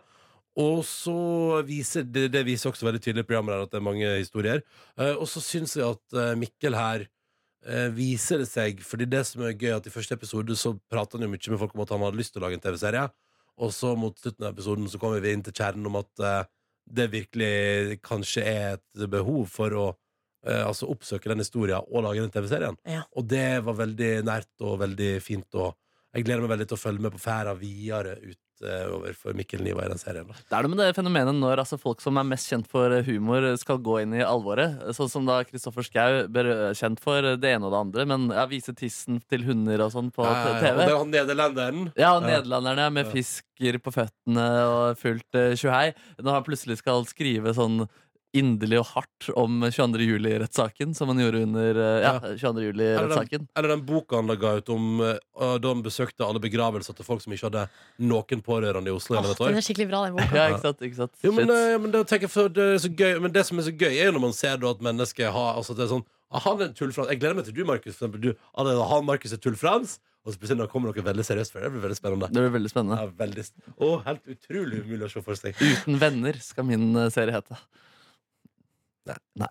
Og så viser det, det viser også veldig tydelig i programmet der at det er mange historier. Eh, og så syns jeg at eh, Mikkel her eh, viser det seg, fordi det som er gøy, er at i første episode så prater han jo mye med folk om at han hadde lyst til å lage en TV-serie, og så mot slutten av episoden så kommer vi inn til kjernen om at eh, det virkelig kanskje er et behov for å eh, altså oppsøke den historien og lage den TV-serien. Ja. Og det var veldig nært og veldig fint. Og jeg gleder meg veldig til å følge med på ferda videre utover for Mikkel Niva i den serien. da. Det er noe med det fenomenet når altså, folk som er mest kjent for eh, humor, skal gå inn i alvoret. Sånn som da Kristoffer Schau ble eh, kjent for det ene og det andre, men ja, vise tissen til hunder og sånn på Ja, ja, ja. TV. Og det er han nederlenderen. Ja, og Ja. nederlenderne med Ja. fisker på føttene og fullt eh, tjohei. Når han plutselig skal skrive sånn inderlig og hardt om 22. juli-rettssaken, som han gjorde under eh, ja, Ja. 22. juli-rettssaken. Eller den boka han ga ut om eh, og da han besøkte alle begravelser til folk som ikke hadde noen pårørende i Oslo. Åh, gjennom et år. den er skikkelig bra, den boka. Ja, ikke sant? Ikke sant? Jo, men, Shit. eh, men, det, tenker jeg, for det er så gøy, men det som er så gøy, er jo når man ser da, at mennesket har altså, at det er sånn, ah, Han er en tullfrans. Jeg gleder meg til du, Markus. For eksempel, du, ah, det er han Markus er tullfrans, og så plutselig nå kommer noe veldig seriøst for det. Det blir veldig spennende. Det blir veldig Ja, spennende. veldig, s- Å, helt utrolig umulig å se for seg. Uten venner skal min eh, serie hete. Nei.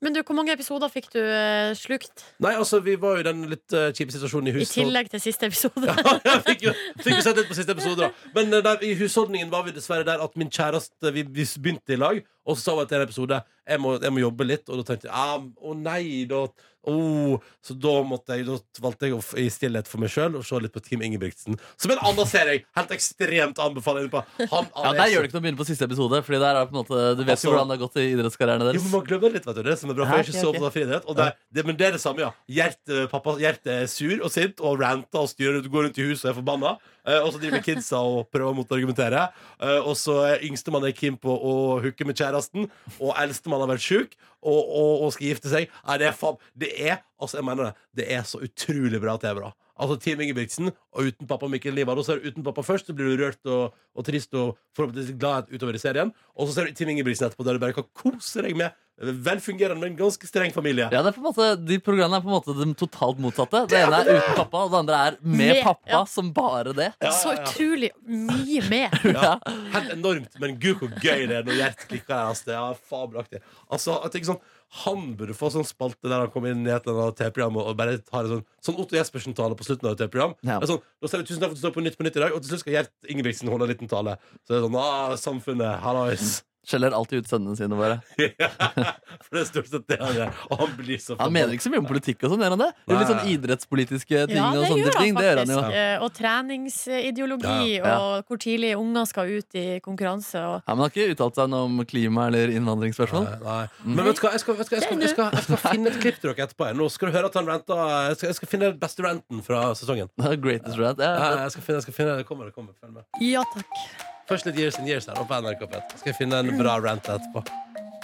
Men du, hvor mange episoder fikk du eh, slukt? Nei, altså, vi var jo i den litt eh, kjipe situasjonen i I huset. tillegg til siste episode? Jeg fikk jo, fikk jo sett litt på siste episode, da. Men eh, der, i husholdningen var vi dessverre der at min kjæreste Vi, vi begynte i lag, og så sa hun etter en episode jeg må, jeg må jobbe litt. Og da tenkte jeg ah, å nei, da oh. Så da, måtte jeg, da valgte jeg å f- i stillhet for meg sjøl og se litt på Team Ingebrigtsen. Som en annen serie jeg helt ekstremt anbefaler. På. Han, Ja, Der gjør det ikke noe å begynne på siste episode. Fordi der er det på en måte, Du vet Altså- jo hvordan det har gått i idrettskarrieren Jo, deres. men Man glemmer det litt, vet du. Det som er bra, for jeg er ikke Ja, så ok, ok. opptatt av friidrett. Og det, det, men det er det samme, ja. Hjerte, pappa Hjerte er sur og sint og ranter og styrer rundt, går rundt i huset og er forbanna. Eh, og så driver kidsa og prøver å motargumentere. Eh, og så er yngstemann er keen på å hooke med kjæresten, og eldstemann har vært sjuk og, og, og skal gifte seg. Nei, det er fab... Det er altså, jeg mener det, det er så utrolig bra TV-bra. Altså Team Ingebrigtsen og uten pappa Mikkel Livad. Og så er det uten pappa først, så blir du rørt og, og trist og forhåpentligvis glad utover i serien. Og så ser du Team Ingebrigtsen etterpå, der du bare kan kose deg med velfungerende, men ganske streng familie. Ja, det er på en måte, De programmene er på en måte de totalt motsatte. Det ene er uten pappa, og det andre er med Med- pappa ja. som bare det. Ja, Så ja, ja. utrolig mye med. Ja. Helt enormt, men gud hvor gøy det er når Gjert klikker der. Altså, det er fabelaktig. Altså, jeg tenker sånn, han burde få sånn spalte der han kommer inn i et eller annet TV-program og bare tar en sånn, sånn Otto Jespersen-tale på slutten av et TV-program. Ja. Det er Sånn, nå ser vi tusen takk for at du står på Nytt på Nytt i dag, og til slutt skal Gjert Ingebrigtsen holde en liten tale. Så det er sånn ah, Samfunnet, hallois. Skjeller alltid ut sønnene sine våre. For det er stort sett det han gjør. Og han blir så Han mener ikke så mye om politikk og sånn, gjør han det? Jo, Litt sånn idrettspolitiske ting Ja, og det sånne gjør ting. han Det gjør han jo. faktisk. Eh, Og treningsideologi, Ja, ja. og hvor tidlig unger skal ut i konkurranse. Og... Ja, men Han har ikke uttalt seg noe om klima eller innvandringsspørsmål. Nei. Men vet du hva, jeg skal, vet du hva, jeg skal, jeg skal, jeg skal, finne et klipp til dere etterpå. jeg. Nå skal du høre at han ranta Jeg skal, jeg skal finne den beste ranten fra sesongen. Greatest rant. Ja, Ja, ja, jeg skal finne, jeg skal finne, det kommer, det kommer, følg med Ja takk. Først litt years and years her, og på NRK P1 Skal jeg finne en bra rant etterpå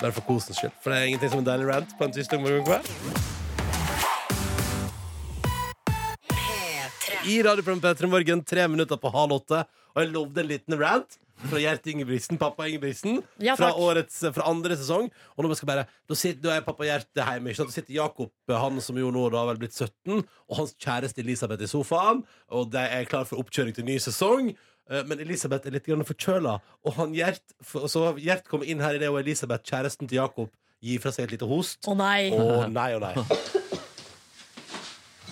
Bare for kosens skyld, for det er ingenting som en deilig rant På en tirsdag morgen kveld I radioprogrammet Petra Morgen, tre minutter på halv åtte Og jeg lovde en liten rant fra Gjert Ingebrigtsen, pappa Ingebrigtsen Ja, fra, takk. årets, eh, fra andre sesong Og nå, skal jeg bare, da, sitter, da er pappa Gjert hjemme ikke sant? Da sitter Jakob, eh, han som jo nå da har vel blitt 17 Og hans kjæreste Elisabeth i sofaen Og de er klar for oppkjøring til ny sesong Eh, Men Elisabeth er litt grann forkjøla, og han Gjert, for- så Gjert kommer inn her i det, og Elisabeth, kjæresten til Jakob, gir fra seg et lite host. Å nei. Å nei, å nei.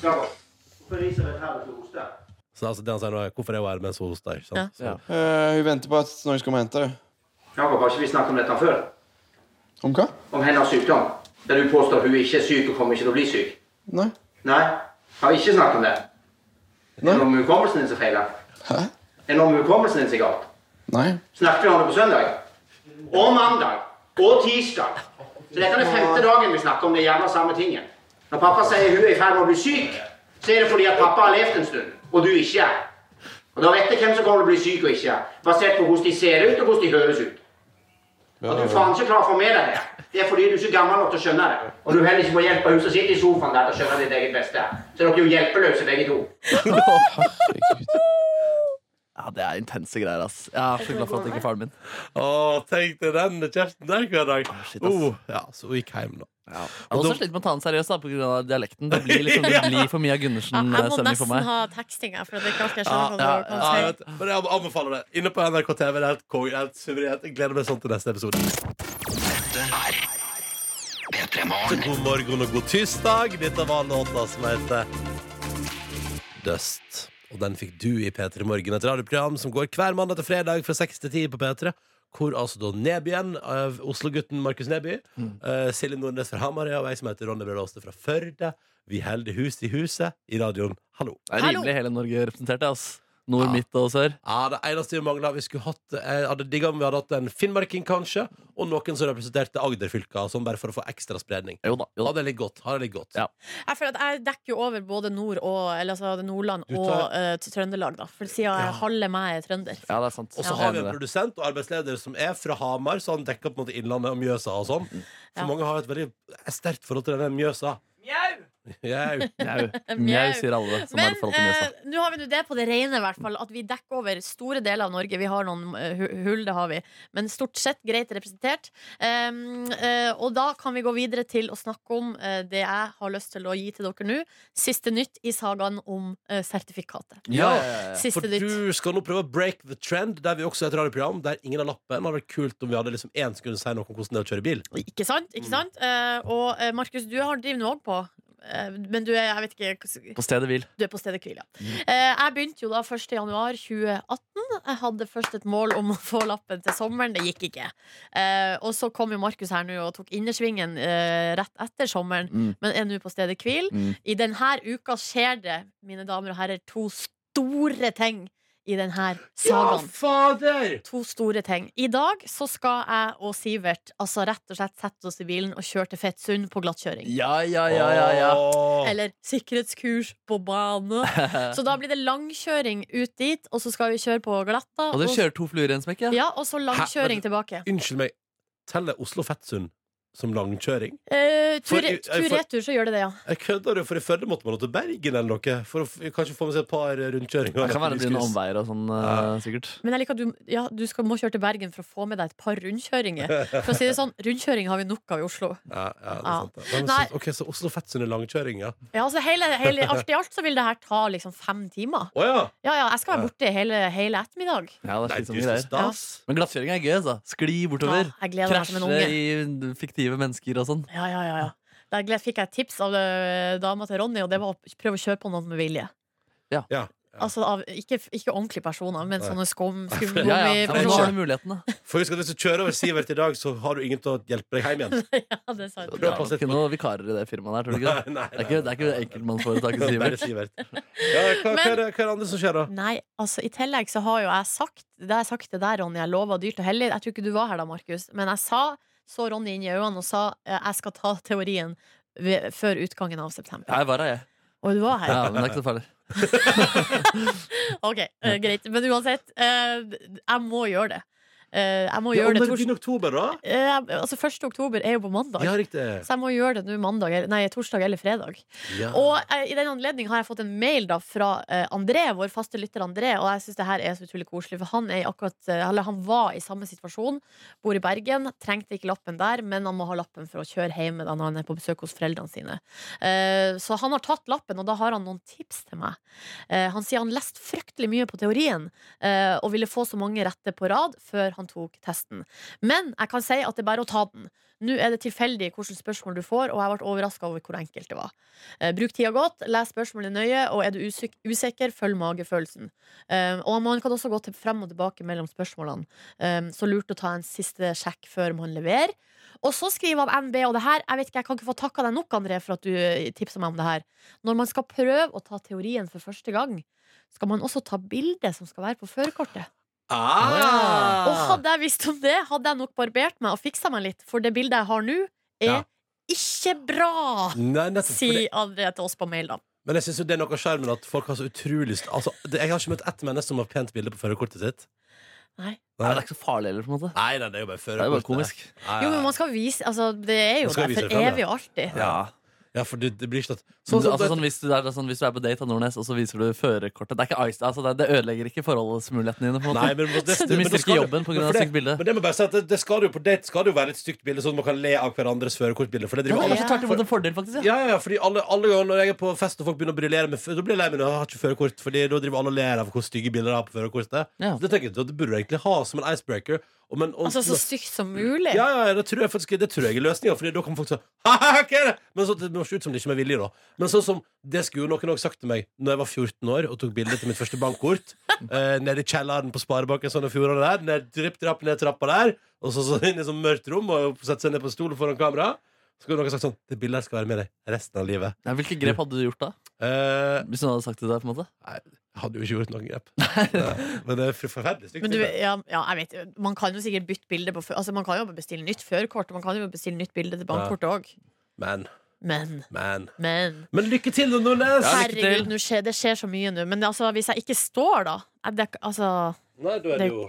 Jakob, hvorfor riser det her ute hos deg? Så altså, det han sier nå er hvorfor er hun her mens hun hoster? Ikke sant? Så, Eh, Hun venter på at noen skal komme og hente henne. Jakob, har ikke vi snakket om dette før? Om hva? Om hennes sykdom? Der du påstår hun ikke er syk og kommer ikke til å bli syk? Nei. Nei, har vi ikke snakket om det? Er det Nei. noe med hukommelsen din som feiler? Hæ? Er det noe med hukommelsen din som er galt? Nei. Snakket vi om det på søndag? Og mandag. Og tirsdag. Så dette er den femte dagen vi snakker om det jævla samme tingen. Når pappa sier hun er i ferd med å bli syk, så er det fordi at pappa har levd en stund, og du ikke er. Og da vet jeg hvem som kommer til å bli syk og ikke er, basert på hvordan de ser ut og hvordan de høres ut. At du faen ikke klarer å få med deg det. Det er fordi du er ikke gammel nok til å skjønne det. Og du heller ikke får hjelp av hun som sitter i sofaen der til å skjønne ditt eget beste. Så dere er jo hjelpeløse begge to. Herregud. ja Det er intense greier, ass. Jeg er så glad for at det ikke er faren min. Å, tenk deg den kjeften der hver dag. shit, ass. Oh, ja, så hun gikk hjem, da. Jeg har også slitt med å ta den seriøst da, på grunn av dialekten. Det blir, liksom, det blir for mye av Ja, jeg må Gundersen-stemning for nesten meg. ha teksting, jeg, for det er ikke alltid jeg Ja, skjønner hva ja, du ja, jeg kan vet. Men jeg anbefaler det. Inne på NRK TV. Det er helt konge. Helt suverent. Jeg gleder meg sånn til neste episode. P3 Så Morgen. god morgen og god tirsdag. Dette var låta som heter Dust. Og den fikk du i P3 Morgen, et radioprogram som går hver mandag til fredag fra 6 til 10 på P3. Hvor altså da Nebyen, av Oslo-gutten Markus Neby, eh, Silje Nordnes fra Hamarøy og jeg som heter Ronny Brede Aaste fra Førde. Vi holder hus i huset i radioen. Hallo. Det er Hallo. rimelig hele Norge representert. ass Nord, midt og sør. Ja, Det eneste vi mangla Vi skulle hatt Jeg hadde digga om vi hadde hatt en finnmarking, kanskje, og noen som representerte Agder-fylka, sånn bare for å få ekstra spredning. Jo da. Jo da. Hadde det ligget godt. Hadde det ligget godt. Ja. si. Jeg føler at jeg dekker jo over både nord og, eller, altså, Nordland Du og tar- eh, Trøndelag, da. For siden jeg halve meg er trønder. Ja, det er sant. Og så Jeg har vi en er enig i det. produsent og arbeidsleder som er fra Hamar, så han dekker på en måte Innlandet og Mjøsa og sånn. For Ja. mange har et veldig sterkt forhold til denne Mjøsa. Mjau! Jau. Mjau. Mjau. Mjau, sier alle som Men har et forhold til eh, Mjøsa. nå har vi nå det på det rene, i hvert fall. At vi dekker over store deler av Norge. Vi har noen eh, hu- hull, det har vi. Men stort sett greit representert. Um, eh, og da kan vi gå videre til å snakke om eh, det jeg har lyst til å gi til dere nå. Siste nytt i sagaen om eh, sertifikatet. Ja, ja, ja, ja. Siste For nytt. du skal nå prøve å break the trend, der vi også er et radioprogram der ingen har lappen. Det hadde vært kult om vi hadde liksom én som kunne si noe om hvordan det er å kjøre bil. Ikke sant? Mm. Ikke sant? Eh, og eh, Markus, du har drevet nå òg på. eh, Men du er, jeg vet ikke På stedet hvil. Du er på stedet hvil, ja. Mm. Eh, jeg begynte jo da 1. januar 2018. Jeg hadde først et mål om å få lappen til sommeren. Det gikk ikke. Eh, og så kom jo Markus her nå og tok innersvingen eh, rett etter sommeren, Mm. men er nå på stedet hvil. Mm. I denne uka skjer det, mine damer og herrer, to store ting i denne sagaen. fader! To store ting. I dag så skal jeg og Sivert altså rett og slett sette oss i bilen og kjøre til Fettsund på glattkjøring. Ja, ja, ja, ja, ja. Åh. Eller sikkerhetskurs på bane. Så da blir det langkjøring ut dit, og så skal vi kjøre på glatta. Og dere kjører to fluer i en smekk, ja? ja, og så langkjøring Hæ? tilbake. Unnskyld meg, teller Oslo-Fettsund som langkjøring? Eh, For- tur tur for- retur, så gjør det det, ja. Jeg kødder, jo, for i Førde måtte man nå til Bergen eller noe for å f- kanskje få med seg et par rundkjøringer. Det kan være det blir noen omveier og sånn, eh, sikkert. Men jeg liker at du, ja, du skal, må kjøre til Bergen for å få med deg et par rundkjøringer. For å si det sånn, rundkjøring har vi nok av i Oslo. Ja, ja, det er Ja. sant, det. Men, Nei. så, ok, så Oslo-Fettsund er langkjøring, ja. Ja, altså hele, hele, Alt i alt så vil det her ta liksom fem timer. Å ja! Ja, ja, jeg skal være borte hele, hele ettermiddag. Ja, Nei, det er du, slitsomme så greier. stas. Men glattkjøring er gøy, altså. Skli Ja, bortover. jeg gleder meg som en Krasje unge. i fiktive mennesker og sånn. Ja, ja, ja, ja. Der gle- fikk jeg et tips av eh, dama til Ronny, og det var å prøve å kjøre på noen med vilje. Ja. Altså av, ikke, ikke ordentlige personer, men Nei. sånne skum, skum Ja, ja. ja, men nå har personer. du muligheten, da. For husk at hvis du kjører over Sivert i dag, så har du ingen til å hjelpe deg hjem igjen. Ja, det er sant. Prøv å Det passe er litt ikke på noen vikarer i det firmaet der, tror du ikke det? Nei, nei, Det er ikke, det er ikke enkeltmannsforetaket nei. Bare Sivert. Sivert. Ja, hva, hva, er det, hva er det andre som skjer, da? Nei, altså I tillegg så har jo jeg sagt det har jeg sagt det der, Ronny. Jeg lova dyrt og hellig. Jeg tror ikke du var her da, Markus. Men jeg sa, så Ronny inn i øynene og sa eh, jeg skal ta teorien ved, før utgangen av september. Jeg var her, jeg. Og du var her. Ja, men det er ikke så farlig. Ok, eh, Greit. Men uansett, eh, jeg må gjøre det. Eh, jeg må Ja, gjøre men det det tors... begynner i oktober, da? Eh, altså 1. oktober er jo på mandag. Ja, riktig. Så jeg må gjøre det nå mandag, eller- nei, torsdag eller fredag. Ja. Og eh, i den anledning har jeg fått en mail da fra eh, André, vår faste lytter André. Og jeg syns det her er så utrolig koselig, for han, er i akkurat, eh, eller han var i samme situasjon. Bor i Bergen, trengte ikke lappen der, men han må ha lappen for å kjøre hjem når han er på besøk hos foreldrene sine. Eh, så han har tatt lappen, og da har han noen tips til meg. Eh, han sier han leste fryktelig mye på teorien, eh, og ville få så mange rette på rad før han tok testen. Men jeg kan si at det er bare å ta den. Nå er det tilfeldig hvilke spørsmål du får, og jeg ble overraska over hvor enkelt det var. Eh, Bruk tida godt, les spørsmålet nøye, og er du usyk- usikker, følg magefølelsen. Eh, og man kan også gå til frem og tilbake mellom spørsmålene. Eh, så lurt å ta en siste sjekk før man leverer. Og så skriver han NB og det her. Jeg vet ikke, jeg kan ikke få takka deg nok, André, for at du eh, tipsa meg om det her. Når man skal prøve å ta teorien for første gang, skal man også ta bildet som skal være på førerkortet. Ah! Og hadde jeg visst om det, hadde jeg nok barbert meg og fiksa meg litt, for det bildet jeg har nå, er Ja. ikke bra, Nei, nettopp, for sier det, André til oss på mail, da. men jeg syns det er noe av skjermen at folk har så utrolig st- altså, det, Jeg har ikke møtt ett menneske som har pent bilde på førerkortet sitt. Nei. Nei, det er ikke så farlig heller, på en måte. Nei, nei, det er jo bare Det er førerkortet. jo bare komisk. Nei, Jo, men nei. man skal vise altså, Det er jo Man skal der vise det for frem, ja. evig og alltid. Ja. ja, for det, det blir ikke at Sånn, Sånn som altså, du sånn, vet- hvis, du, det er sånn, hvis du er på date av Nordnes, og så viser du førerkortet Det er ikke ice, altså, det, det ødelegger ikke forholdsmulighetene dine. på en Nei, måte men det, Du men da mister skal ikke jobben på grunn av men for et stygt bilde. Men det må jeg bare si at det, det skal jo på date skal det jo være et stygt bilde, sånn at man kan le av hverandres førerkortbilder. For det driver Ja, Det det er alle ja. kanskje tvert imot en fordel, faktisk. Ja. Ja, ja, fordi alle, alle ganger når jeg er på fest og folk begynner å briljere med f- Da blir jeg lei meg når jeg har ikke førerkort, Fordi da driver alle og ler av hvor stygge bilder jeg har på førerkortet. Ja. Så Det tenker jeg at du burde egentlig ha som en icebreaker. Og, men, og, Altså så sykt som mulig. ja, ja, ja, det tror jeg faktisk Det tror jeg er løsninga, Fordi da kan folk sånn «Haha, hva er det? Men så, det må se ut som det ikke er vilje, da. Men sånn som det skulle jo noen også sagt til meg Når jeg var 14 år og tok bilde til mitt første bankkort, eh, nede i kjelleren på Sparebanken Sogn og Fjordane der, ned, dripp, drapp, ned trappa der, og så, så inn i sånn mørkt rom og sette seg ned på en stol foran kamera, så skulle noen sagt sånn Det bildet her skal være med deg resten av livet. Hvilke grep hadde du gjort da? Eh, Hvis noen hadde sagt det der, på en måte? jeg hadde jo ikke gjort noen grep. Nei, Men det er for- forferdelig stygt. Men du, bilde. ja, ja, jeg vet, man kan jo sikkert bytte bilde på fø- Altså Man kan jo bestille nytt førerkort, og man kan jo bestille nytt bilde til bankkortet òg. Men, Men, men men Men lykke til, da, Nordnes! Herregud, nå skjer, det skjer så mye nå. Men altså, hvis jeg ikke står, da jeg, det, Altså, Nei, da er det jo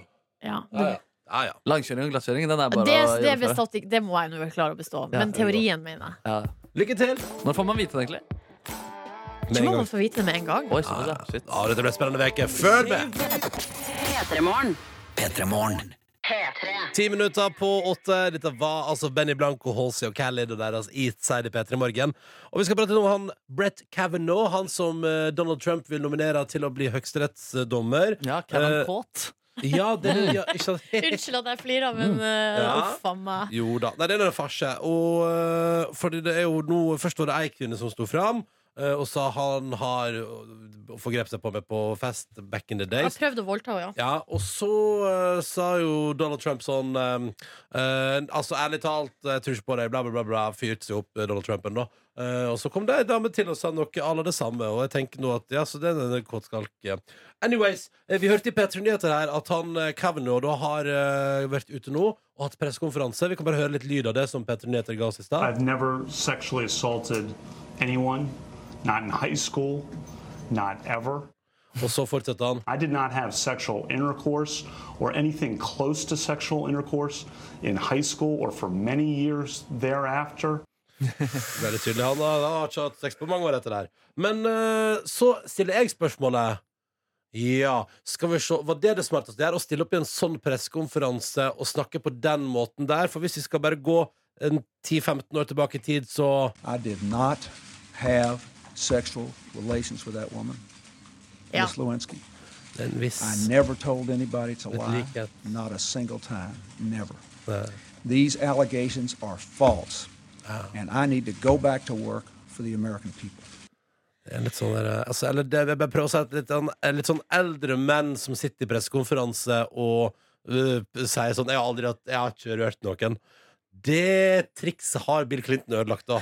Ja, ja. ja. ja, ja. Langkjøring og glattkjøring, den er Det, bare det, å gjennomføre. bestatt, ikke- det må jeg nå klare å bestå. Ja, Men teorien, mener jeg. Ja. Lykke til! Når får man vite det, egentlig? Med Tror en man gang. får vite det med en gang. Oi, såpass, ja. Shit. Ah, Ja, dette ble en spennende uke. Følg med! P3morgen. P3morgen. Ti minutter på åtte. Dette var altså Benny Blanco, Halsey og Khalid og deres Eatside i P3 Morgen. Og vi skal prate om han Brett Kavanaugh, han som eh, Donald Trump vil nominere til å bli høyesterettsdommer. Ja, Kevin Eh, Kåt. Ja, det er ja, ikke sant? Unnskyld at jeg flirer, men eh, Mm. Ja. uff a meg. Jo da. Nei, det er en farse. Og, øh, fordi det er jo nå, først var det ei kvinne som sto fram øh, og sa han har øh, forgrepet seg på meg på fest back in the Jeg har days. prøvd å voldta henne, ja. Ja, og så øh, sa jo Donald Trump sånn ehm, eh, Altså, ærlig talt, jeg tror ikke på deg, bla, bla, bla. bla fyrte seg opp eh, Donald Trump ennå. Eh, og så kom det ei dame til og sa noe à la det samme. Og jeg tenker nå at ja, så det er en kåtskalk. ja. Anyways, eh, vi hørte i P3 Nyheter her at han eh, Kavanaugh da har eh, vært ute nå og hatt pressekonferanse. Vi kan bare høre litt lyd av det som P3 Nyheter ga oss i stad. I've never sexually assaulted anyone, not in high school, not ever. Og så fortsetter han. I did not have sexual intercourse or anything close to sexual intercourse in high school or for many years thereafter. Veldig tydelig. Han har, han har ikke hatt sex på mange år etter det her. Men eh, så stiller jeg spørsmålet. Ja, skal vi se, Var det det smarteste der? Å stille opp i en sånn pressekonferanse og snakke på den måten der? For hvis vi skal bare gå en 10-15 år tilbake i tid, så I did not have sexual relations with that woman, ja. Miss Lewinsky. Det er en viss I never told anybody to lie, leak not a single time, never. eh, These allegations are false, and I need to go back to work for the American people. Det er litt sånn der, eh, altså, eller det, jeg bare prøver å si at litt, sånn- eh, litt sånn eldre menn som sitter i pressekonferanse og eh, sier sånn 'Jeg har aldri hatt, jeg har ikke rørt noen'. Det trikset har Bill Clinton ødelagt, da.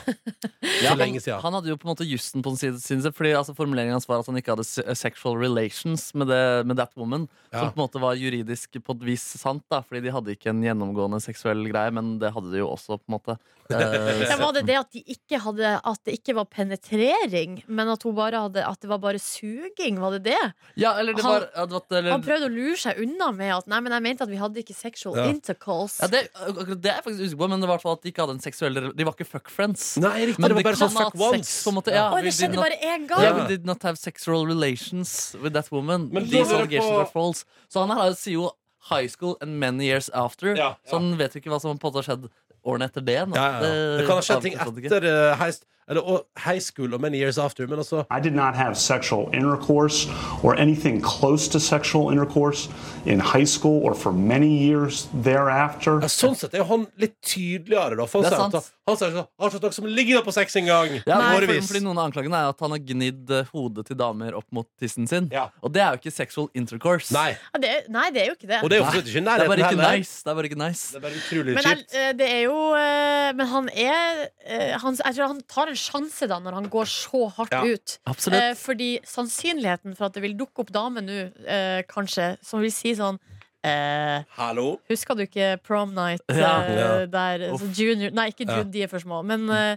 Ja, For lenge siden. Han, han hadde jo på en måte jussen på sin sin side, fordi altså, formuleringen hans var at han ikke hadde se- eh, sexual relations med, det, med that woman. Ja. Som på en måte var juridisk på et vis sant, da, fordi de hadde ikke en gjennomgående seksuell greie, men det hadde de jo også, på en måte. Eh, Ja, var det det at, de ikke hadde, at det ikke var penetrering, men at, hun bare hadde, at det var bare suging? Var det det? ja, eller det Han- var ja, det var- eller, Han prøvde å lure seg unna med at Nei, men jeg mente at vi hadde ikke sexual Ja. intercourse. ja, det, akkurat det er jeg faktisk usikker på, men det var i hvert fall at de ikke hadde en seksuell re- De var ikke fuck friends. Nei, riktig. Men Det var de bare sånn kan ha fuck hatt once. sex, på en måte. Ja, Oi, we det did skjedde not- bare én gang! Yeah, we did not have sexual relations with that woman. Men da These lurer jeg allegations på- are false. Så han her sier jo high school and many years after. Ja, ja. Så han vet jo ikke hva som på en måte har skjedd årene etter det. nå. Ja, ja, Eh, ja. Det kan ha skjedd ting avslutter han ikke. etter eh, high, eller, og high school og many years after, men altså I did not have sexual intercourse or anything close to sexual intercourse in high school or for many years thereafter. ja, Sånn sett er jo han litt tydeligere, da. For Det han er sier at sant. han sier sånn, har ikke hatt noe som ligger på sex engang. Ja, i fordi, årevis. fordi Noen av anklagene er at han har gnidd eh, hodet til damer opp mot tissen sin. Ja. Og det er jo ikke sexual intercourse. Nei. Ja, det er, nei, det er jo ikke det. Og det er jo for så vidt ikke i Det er nærheten bare ikke heller. nice. Det er bare ikke nice. Det er bare utrolig men, kjipt. jeg, det er jo, eh, men han er eh, han, Jeg tror han tar en sjanse da når han går så hardt Ja. ut. Eh, Absolutt. fordi sannsynligheten for at det vil dukke opp damer nå, eh, kanskje, som vil si sånn eh, Hallo? Husker du ikke prom night eh, Ja. Ja. der så junior Nei, ikke junior, de er for små, men eh,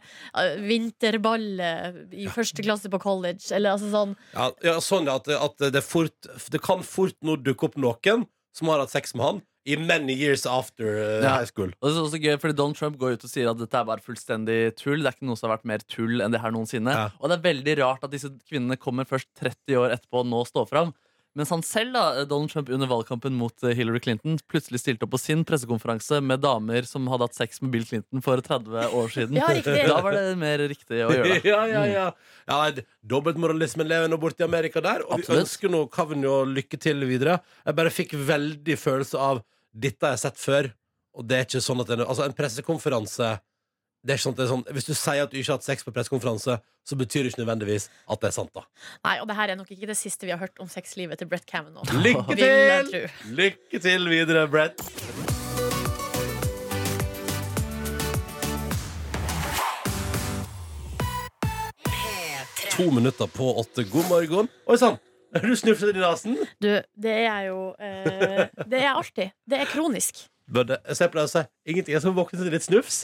vinterballet i første klasse på college, eller altså sånn Ja, ja sånn ja, at, at det, fort, det kan fort nå dukke opp noen som har hatt sex med han i many years after eh, Ja. high school. Og det er også gøy, fordi Donald Trump går ut og sier at dette er bare fullstendig tull. Det er ikke noe som har vært mer tull enn det her noensinne. Ja. Og det er veldig rart at disse kvinnene kommer først 30 år etterpå og nå står fram. Mens han selv, da, Donald Trump under valgkampen mot eh, Hillary Clinton, plutselig stilte opp på sin pressekonferanse med damer som hadde hatt sex med Bill Clinton for 30 år siden. Ja, riktig. da var det mer riktig å gjøre det. Mm. ja, ja, ja. ja nei, d- Dobbeltmoralismen lever nå borte i Amerika der, og vi Absolutt. ønsker nå Kavnio lykke til videre. Jeg bare fikk veldig følelse av dette har jeg sett før, og det er ikke sånn at en, altså en pressekonferanse det er ikke sånn, at det er sånn, Hvis du sier at du ikke har hatt sex på pressekonferanse, så betyr det ikke nødvendigvis at det er sant, da. Nei, og det her er nok ikke det siste vi har hørt om sexlivet til Brett Cameron. Lykke Vil jeg til! tro. Lykke til videre, Brett. To minutter på åtte. God morgen. Oi sann! Er du snufset i nesen? Du, det er jo eh, Det er alltid. Det er kronisk. Bødde, jeg pleier å si ingenting. Jeg skal våkne til litt snufs.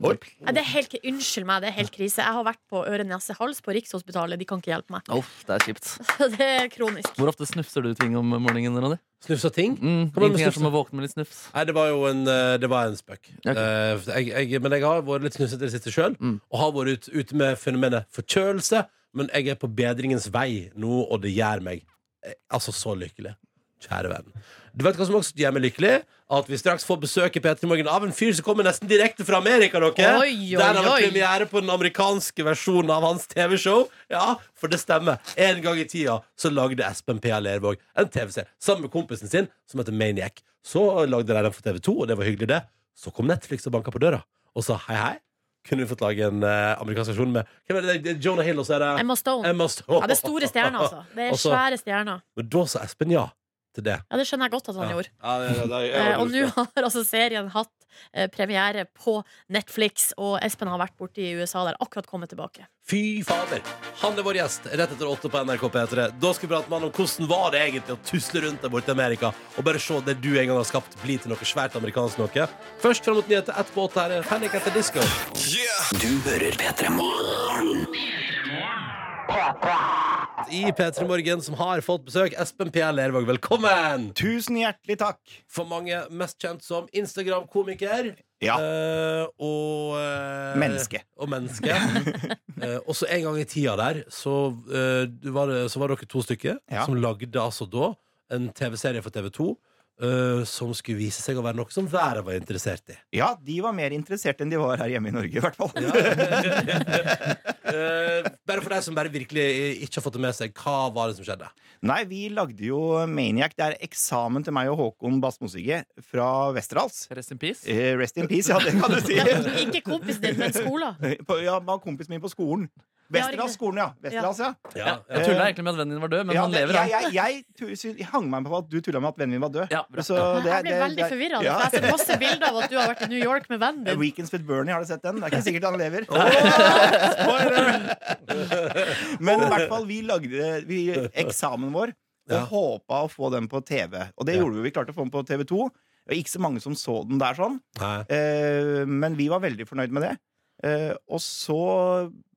Oi. Nei, det er helt, unnskyld meg, det er helt krise. Jeg har vært på øre, nese, hals på Rikshospitalet. De kan ikke hjelpe meg. Uff, det er kjipt. Det er kronisk. Hvor ofte snufser du ting om morgenen, Ronny? Snufsa ting? Mm, Hva var det med ingenting er som snufset? å våkne med litt snufs. Nei, det var jo en, eh, det var en spøk. Ok. Mm. Eh, jeg, jeg, men jeg har vært litt snufsete i det siste sjøl, og har vært ut- ute med fenomenet forkjølelse. men jeg er på bedringens vei nå, og det gjør meg eh, altså så lykkelig. Kjære venn. Du vet hva som også gjør meg lykkelig? At vi straks får besøk i P3 Morgen av en fyr som kommer nesten direkte fra Amerika. Dere. Oi, oi, Der har oi. vi premiere på den amerikanske versjonen av hans TV-show. Ja, for det stemmer. En gang i tida så lagde Espen P.A. Lervåg en TV-serie sammen med kompisen sin som heter Maniac. Så lagde de den for TV2, og det var hyggelig, det. Så kom Netflix og banka på døra og sa hei, hei. Kunne vi fått lage en eh, amerikansk versjon med hvem er det? det? er Jonah Hill, og så er det Emma Stone. Emma Stone. Ja, det er store stjerner, altså. Det er Altså- svære stjerner. Men da sa Espen ja til det. Ja, det skjønner jeg godt at han Ja. gjorde. Ja, det, det, det, jeg Eh, har og nå lyst til. har altså serien hatt eh, premiere på Netflix, og Espen har vært borte i USA der, akkurat kommet tilbake. Fy fader! Han er vår gjest rett etter åtte på NRK P3. Da skal vi prate med han om hvordan var det egentlig å tusle rundt der borte i Amerika og bare se det du en gang har skapt, bli til noe svært amerikansk noe. Først fram mot nyheter, etterpå åtte her er Panic at the Disco. Du hører P3 Morgen. I P3 Morgen som har fått besøk. Espen P. Lervåg, velkommen! Tusen hjertelig takk. For mange mest kjent som Instagram-komiker. Ja. Eh, og eh, Menneske. Og menneske. Eh, og så en gang i tida der, så, eh, du var, det- så var dere to stykker Ja. som lagde altså da en TV-serie for TV2 eh, som skulle vise seg å være noe som været var interessert i. Ja, de var mer interessert enn de var her hjemme i Norge, i hvert fall. Eh, bare for deg som bare virkelig eh, ikke har fått det med seg, hva var det som skjedde? Nei, vi lagde jo Maniac. Det er eksamen til meg og Håkon Bassmosige fra Westerdals. Rest in peace. Eh, rest in peace, ja, det kan du si. Ikke kompisen din, men skolen. På- Ja, man har kompisen min på skolen. Westerdals-skolen, ja. Westerdals, ja. Ja, ja. Jeg tulla egentlig med at vennen din var død, men Ja, han det- lever. jeg, jeg, jeg, tu- sy- jeg hang meg på at du tulla med at vennen min var død. Ja, bra. Så Jeg det- ble det- veldig det- Ja. forvirra. for Jeg har sett masse bilder av at du har vært i New York med vennen din. Weekends with Bernie, har du sett den? Det er ikke sikkert han lever. Men i hvert fall, vi lagde vi, eksamen vår og Ja. håpa å få den på TV. Og det Ja. gjorde vi. Vi klarte å få den på TV2. Det var ikke så mange som så den der, sånn. Nei. Eh, men vi var veldig fornøyd med det. Eh, og så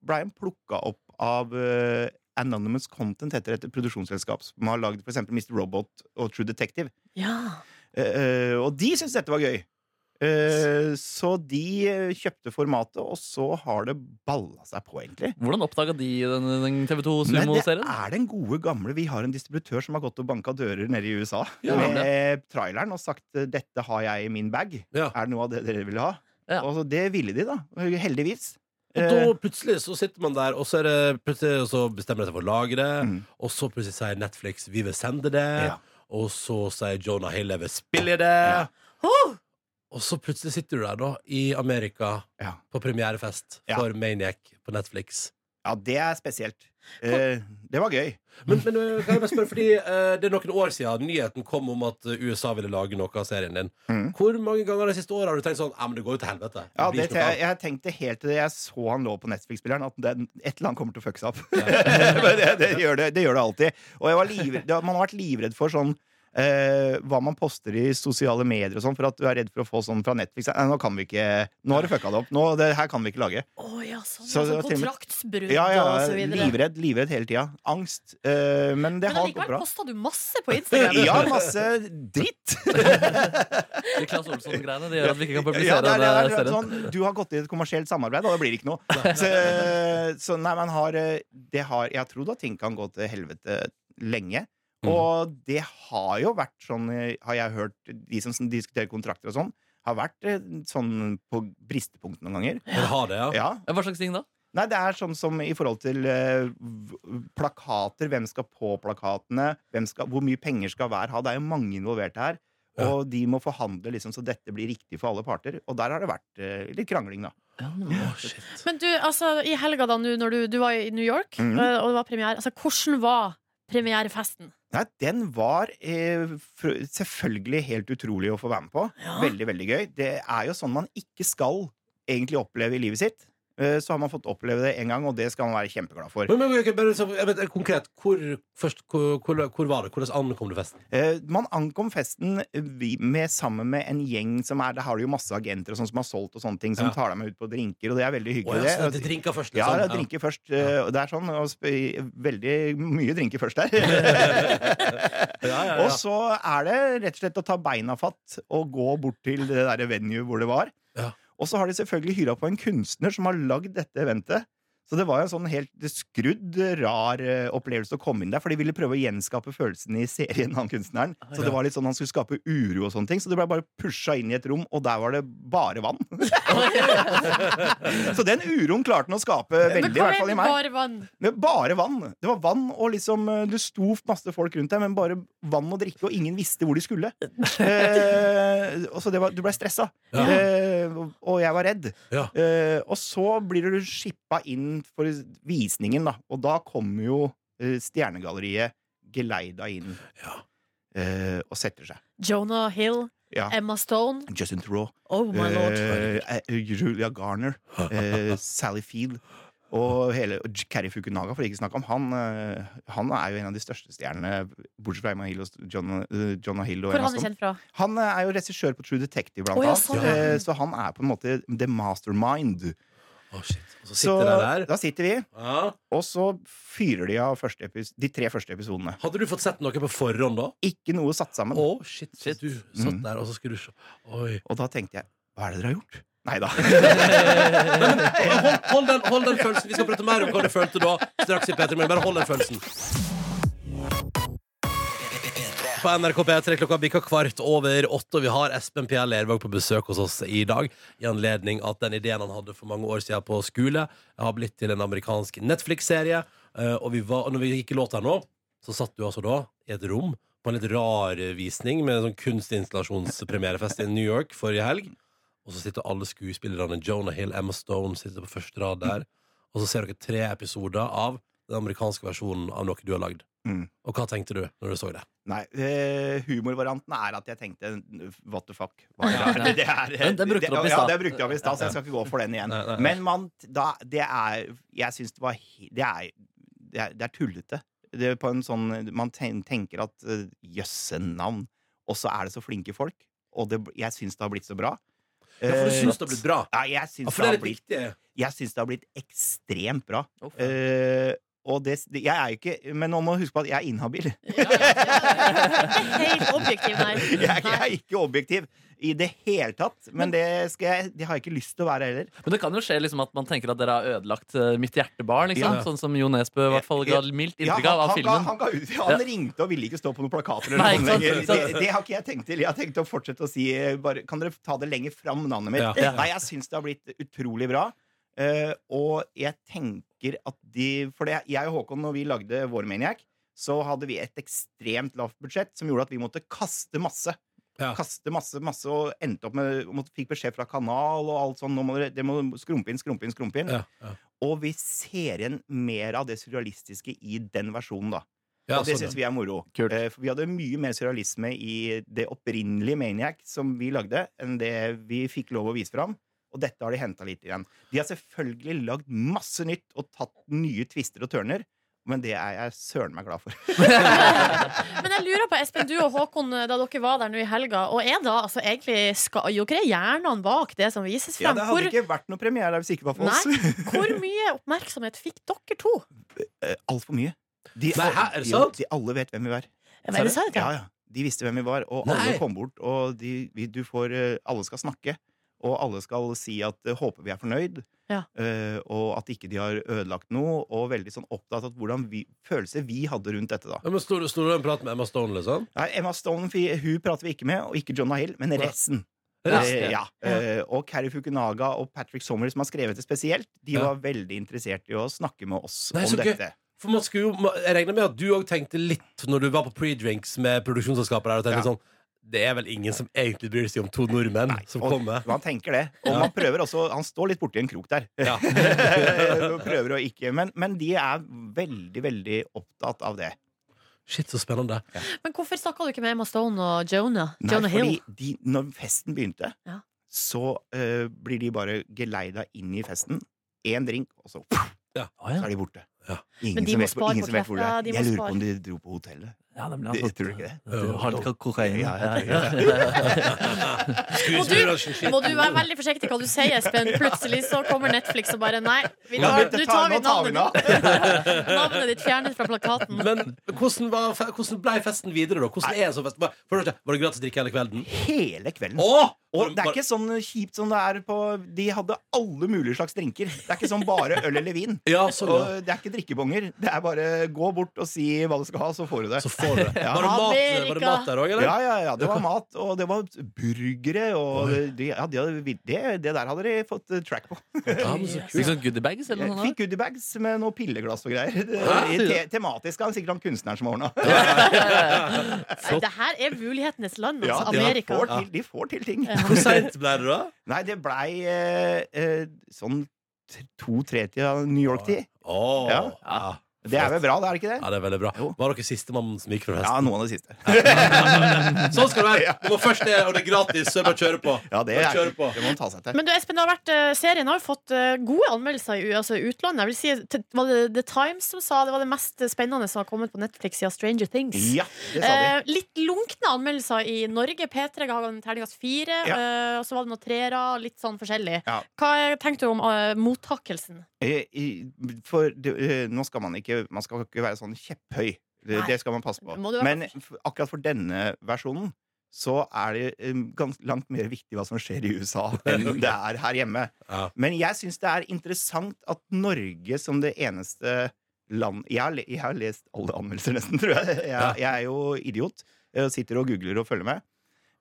blei han plukka opp av eh, Anonymous Content, heter et produksjonsselskap som har lagd f.eks. Mr. Robot og True Detective. Ja. Eh, eh, og de syntes dette var gøy. Eh, så de eh, kjøpte formatet, og så har det balla seg på, egentlig. Hvordan oppdaga de den, den Men det er TV2-sumoserien? den gode gamle. Vi har en distributør som har gått og banka dører nede i USA Ja, med traileren og sagt 'dette har jeg i min bag'. Ja. Er det noe av det dere vil ha? Ja. Og så det ville de, da. Heldigvis. Og Eh, da plutselig så sitter man der, og så, er det, plutselig, og så bestemmer de seg for å lage det. Mm. Og så plutselig sier Netflix vi vil sende det. Ja. Og så sier Jonah Hill jeg vil spille i det. Oh! Og så plutselig sitter du der da i Amerika ja. på premierefest Ja. for Maniac på Netflix. ja, det er spesielt. Eh, det var gøy. Men, men øh, kan jeg bare spørre, fordi øh, det er noen år siden nyheten kom om at øh, USA ville lage noe av serien din. Mm. Hvor mange ganger de siste åra har du tenkt sånn Ja, men det går jo til helvete. Ja, blir det, ikke noe jeg, av». jeg tenkte helt til jeg så han lå på Netflix-spilleren, at den, et eller annet kommer til å fucke seg opp. Men det, det, gjør det, det gjør det alltid. Og jeg var livredd, det, man har vært livredd for sånn eh, hva man poster i sosiale medier og sånn, for at du er redd for å få sånn fra Netflix. Nei, nå kan vi ikke Nå har du fucka det opp. Nå, det her kan vi ikke lage. Å ja, sånn. Så det sånn var til og med- kontraktsbrudd Ja, ja, og så videre. livredd, livredd hele tida. Angst. Eh, men det Men har gått allikevel bra. kosta du masse på Instagram. Ja, masse dritt. De Claes Olsson-greiene Det gjør at vi ikke kan publisere Ja, det er, det er, den eh, serien. sånn, du har gått i et kommersielt samarbeid, og det blir ikke noe. Så, så nei, man har, eh, det har Jeg har trodd at ting kan gå til helvete lenge. Mm. Og det har jo vært sånn, eh, har jeg hørt, de som sn- diskuterer kontrakter og sånn, har vært eh, sånn på bristepunkt noen ganger. Dere har det, ja. Ja. Ja, Hva slags ting da? Nei, det er sånn som i forhold til eh, v- plakater. Hvem skal på plakatene? Hvem skal, hvor mye penger skal hver ha? Det er jo mange involverte her. Ja. Og de må forhandle liksom, så dette blir riktig for alle parter. Og der har det vært eh, litt krangling, da. Å, shit. Men du, altså, i helga da nå, når du, du var i New York, Mhm. øh, og det var premiere, altså, hvordan var premierefesten? Nei, den var eh, fr- selvfølgelig helt utrolig å få være med på. Veldig, veldig gøy. Det er jo sånn man ikke skal egentlig oppleve i livet sitt. Eh, Så har man fått oppleve det en gang, og det skal man være kjempeglad for. Men, men, ok, bare så, jeg vet, konkret, hvor, først, hvor, hvor, hvor var det? Hvordan ankom du festen? Eh, Man ankom festen eh, vi- med, sammen med en gjeng som er Der har du jo masse agenter og sånn som har solgt og sånne ting, som Ja. tar deg med ut på drinker, og det er veldig hyggelig. Å, ja, så det. det er drinker først, Ja, liksom. det er drinker først. eh, Og det er sånn, og sp- veldig mye drinker først der. Ja, ja, ja. Og så er det rett og slett å ta beina fatt og gå bort til det der venue hvor det var. Ja. Og så har de selvfølgelig hyra på en kunstner som har lagd dette eventet. Så det var jo en sånn helt skrudd, rar eh, opplevelse å komme inn der. For de ville prøve å gjenskape følelsen i serien, han kunstneren. Så det var litt sånn han skulle skape uro og sånne ting. Så det ble bare pusha inn i et rom, og der var det bare vann. så den uroen klarte han å skape veldig, i hvert fall i meg. Bare vann. Men bare vann. Det var vann, og liksom eh, det sto masse folk rundt deg, men bare vann og drikke, og ingen visste hvor de skulle. Eh, og så det var, du ble stressa. Ja. Eh, og- og jeg var redd. Ja. Eh, og så blir du skippa inn for visningen, da. Og da kommer jo eh, Stjernegalleriet geleida inn eh, og setter seg. Jonah Hill. Ja. Emma Stone. Justin Theroux. Oh my lord. eh, eh, Julia Garner. Eh, Sally Field. Og hele og J- Cary Fukunaga, for ikke å snakke om. Han, eh, han er jo en av de største stjernene, bortsett fra Emma Hill og St- John, eh, Jonah Hill. Og Hvor er Emma han er Stone. kjent fra? Han eh, er jo regissør på True Detective, blant Å, ja, annet. sånn, ja. Eh, Så han er på en måte the mastermind. Å, shit. Og så sitter de der. da sitter vi, Ja. og så fyrer de av første epis de tre første episodene. Hadde du fått sett noe på forhånd da? Ikke noe satt sammen. Å, shit. Så du satt Mm. der, og så skulle du se. Oi. Og da tenkte jeg hva er det dere har gjort? Nei da. Hold, hold, den, hold den følelsen. Vi skal prate mer om hva du følte da. Straks i P3 Morgen. Bare hold den følelsen. På NRK P3 klokka bikka kvart over åtte, og vi har Espen P. Lervåg på besøk hos oss i dag. I anledning at den ideen han hadde for mange år siden på skole, har blitt til en amerikansk Netflix-serie. Eh, Og vi var, og når vi gikk i låt her nå, så satt du altså da i et rom på en litt rar visning med en sånn kunstinstallasjonspremierefest i New York forrige helg. Og så sitter alle skuespillerne Jonah Hill, Emma Stone sitter på første rad der. Og så ser dere tre episoder av den amerikanske versjonen av noe du har lagd. Mm. Og hva tenkte du når du så det? Nei, eh, humorvarianten er at jeg tenkte what the fuck. Hva er det? Det, er, Men den brukte du opp i ja, stad. den brukte jeg opp i stad, så jeg skal ikke gå for den igjen. Nei, nei, nei. Men man, da, det er Jeg syns det var he- Det er, det er, det er tullete. Det er på en sånn, man ten- tenker at eh, jøsse navn, og så er det så flinke folk. Og det, jeg syns det har blitt så bra. Ja, for du syns det har blitt bra? Ja, jeg Ja, syns for det er Eh, det har litt blitt viktig. jeg syns det har blitt ekstremt bra. Å, faen. Eh, og det, det- jeg er jo ikke Men nå må du huske på at jeg er inhabil. Helt objektiv, nei. Jeg, er- jeg er ikke objektiv i det hele tatt. Men det, skal jeg, det har jeg ikke lyst til å være heller. Men det kan jo skje liksom at man tenker at dere har ødelagt eh, mitt hjertebarn. Liksom. Ja. Sånn som Jo Nesbø i hvert fall ga mildt Ja, inntrykk han, av han, av ga, filmen. han, ga ut, han ringte og ville ikke stå på noen plakater. Eller Nei, noe ikke sant, lenger. ikke sant. Det, det har ikke jeg tenkt til. Jeg har tenkt å fortsette å si eh, bare, Kan dere ta det lenger fram, navnet mitt? Ja. Ja. Nei, jeg syns det har blitt utrolig bra. Eh, og jeg tenker at de For det, jeg og Håkon, når vi lagde vår Maniac, så hadde vi et ekstremt lavt budsjett som gjorde at vi måtte kaste masse. Ja. Kaste masse, masse og endte opp med måtte, Fikk beskjed fra kanal og alt sånn. Nå må dere, det må skrumpe inn, skrumpe inn, skrumpe inn. Ja, ja. Og vi ser igjen mer av det surrealistiske i den versjonen, da. Ja, og det sånn, syns vi er moro. Eh, for vi hadde mye mer surrealisme i det opprinnelige Maniac som vi lagde, enn det vi fikk lov å vise fram. Og dette har de henta litt igjen. De har selvfølgelig lagd masse nytt og tatt nye twister og tørner, men det er jeg søren meg glad for. Men jeg lurer på, Espen, du og Håkon, da dere var der nå i helga, og er da altså egentlig skal, jo ikke det hjernene bak det som vises Ja, frem? det hvor, hadde ikke vært noe premiere hvis det ikke var for Nei. oss. hvor mye oppmerksomhet fikk dere to? Altfor mye. De, Nei, hæ, er det jo, sant? de alle vet hvem vi er. Men er det sant, ja? Ja, ja. De visste hvem vi var, og Nei. alle kom bort. Og de, vi, du får, eh, alle skal snakke, og alle skal si at eh, håper vi er fornøyd, Ja. eh, og at ikke de har ødelagt noe, og veldig sånn opptatt av hvordan vi, følelser vi hadde rundt dette. da. Ja, men Sto sto du og pratet med Emma Stone, liksom? Nei, Emma Stone fi- hun prater vi ikke med, og ikke Jonah Hill, men resten. Resten, Eh, ja. Eh, og Kari Fukunaga og Patrick Sommer, som har skrevet det spesielt, de Ja. var veldig interessert i å snakke med oss Nei, så om gøy. dette. For man skulle jo, ma- Jeg regner med at du òg tenkte litt når du var på pre-drinks med produksjonsselskapet der, og tenkte Ja. sånn Det er vel ingen som egentlig bryr seg om to nordmenn som Og kommer? Man tenker det. Og man prøver også Han står litt borti en krok der. Ja. prøver å ikke men, men de er veldig, veldig opptatt av det. Shit, så spennende. Men hvorfor snakka du ikke med Emma Stone og Jonah? Nei, Jonah Hill? fordi de, når festen begynte, Ja. så eh, blir de bare geleida inn i festen. Én drink, og så, Ja. så er de borte. Ja. Ingen Men de som må vet, hvor- spare ingen på som vet hvor de krefter, er. de må Jeg lurer spare. på om de dro på hotellet. Ja, det ble Det- han tror du ikke det? Jo, Hardcore kokain. Ja, ja, Ja, ja, Må du, må du være veldig forsiktig hva du sier, Espen. Plutselig så kommer Netflix og bare Nei, vi tar, nå tar vi navnet ditt. Navnet ditt fjernet fra plakaten. Men hvordan, var, fe- hvordan ble festen videre, da? Hvordan er en sånn fest? Var, for det første, var det gratis drikke hele kvelden? Hele kvelden. Åh! Og det er ikke sånn kjipt som det er på De hadde alle mulige slags drinker. Det er ikke sånn bare øl eller vin. Ja, sånn, ja. Og det er ikke drikkebonger. Det er bare gå bort og si hva du skal ha, så får du det. Så får du det. Ja. Var, det mat, var det mat der òg, eller? Ja, ja, ja, det var mat, og det var burgere, og de, ja, de hadde, det, det der hadhadde de fått eh, track på. Fikk sånn goodiebags eller Jeg noe sånt? fikk goodiebags med noe pilleglass og greier. Det- Hæ? Te tematisk er det sikkert han kunstneren som har ordna. Nei, Det her er mulighetenes land, Ja, altså. de Amerika. får til, de får til ting. Hvor seint ble det, da? Nei, det blei eh, eh, sånn t- to-tre-tida New York-tid. Åh, Ja. ja. Det er vel bra, det er det ikke Ja, det? det er veldig bra. Var dere sistemann som gikk fra Ja, festen? noen av de siste. Sånn skal det være! Du må først det, og det er gratis, så jeg bare kjører på. Ja, det, Bare er, kjører det må på. man ta seg til. Men du, Espen, det har vært, eh, serien har jo fått eh, gode anmeldelser i u- altså, i utlandet. Jeg vil si, t- var det The Times som sa det var det mest spennende som har kommet på Netflix siden Stranger Things? Ja, det sa de. Eh, litt lunkne anmeldelser i Norge. P3 ga den terningkast fire. Ja. eh, og så var det noen treere, litt sånn forskjellig. Ja. Hva eh, tenkte du om eh, mottakelsen? Eh, i- For det, eh, nå skal man ikke Man skal ikke være sånn kjepphøy. Det, Nei. det skal man passe på. Må du være Men f- akkurat for denne versjonen så er det eh, gans, langt mer viktig hva som skjer i USA, enn det er her hjemme. Ja. Men jeg syns det er interessant at Norge som det eneste land Jeg har, le- jeg har lest alle anmeldelser, nesten, tror jeg. Jeg, jeg er jo idiot. eh, Sitter og googler og følger med.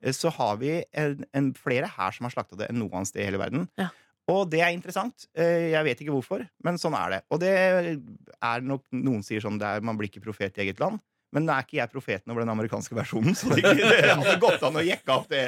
Eh, Så har vi en, en, flere her som har slakta det enn noe annet sted i hele verden. Ja. Og det er interessant. Eh, Jeg vet ikke hvorfor, men sånn er det. Og det er nok noen sier sånn det er, man blir ikke profet i eget land. Men nå er ikke jeg profeten over den amerikanske versjonen, så det, det hadde gått an å jekke opp det,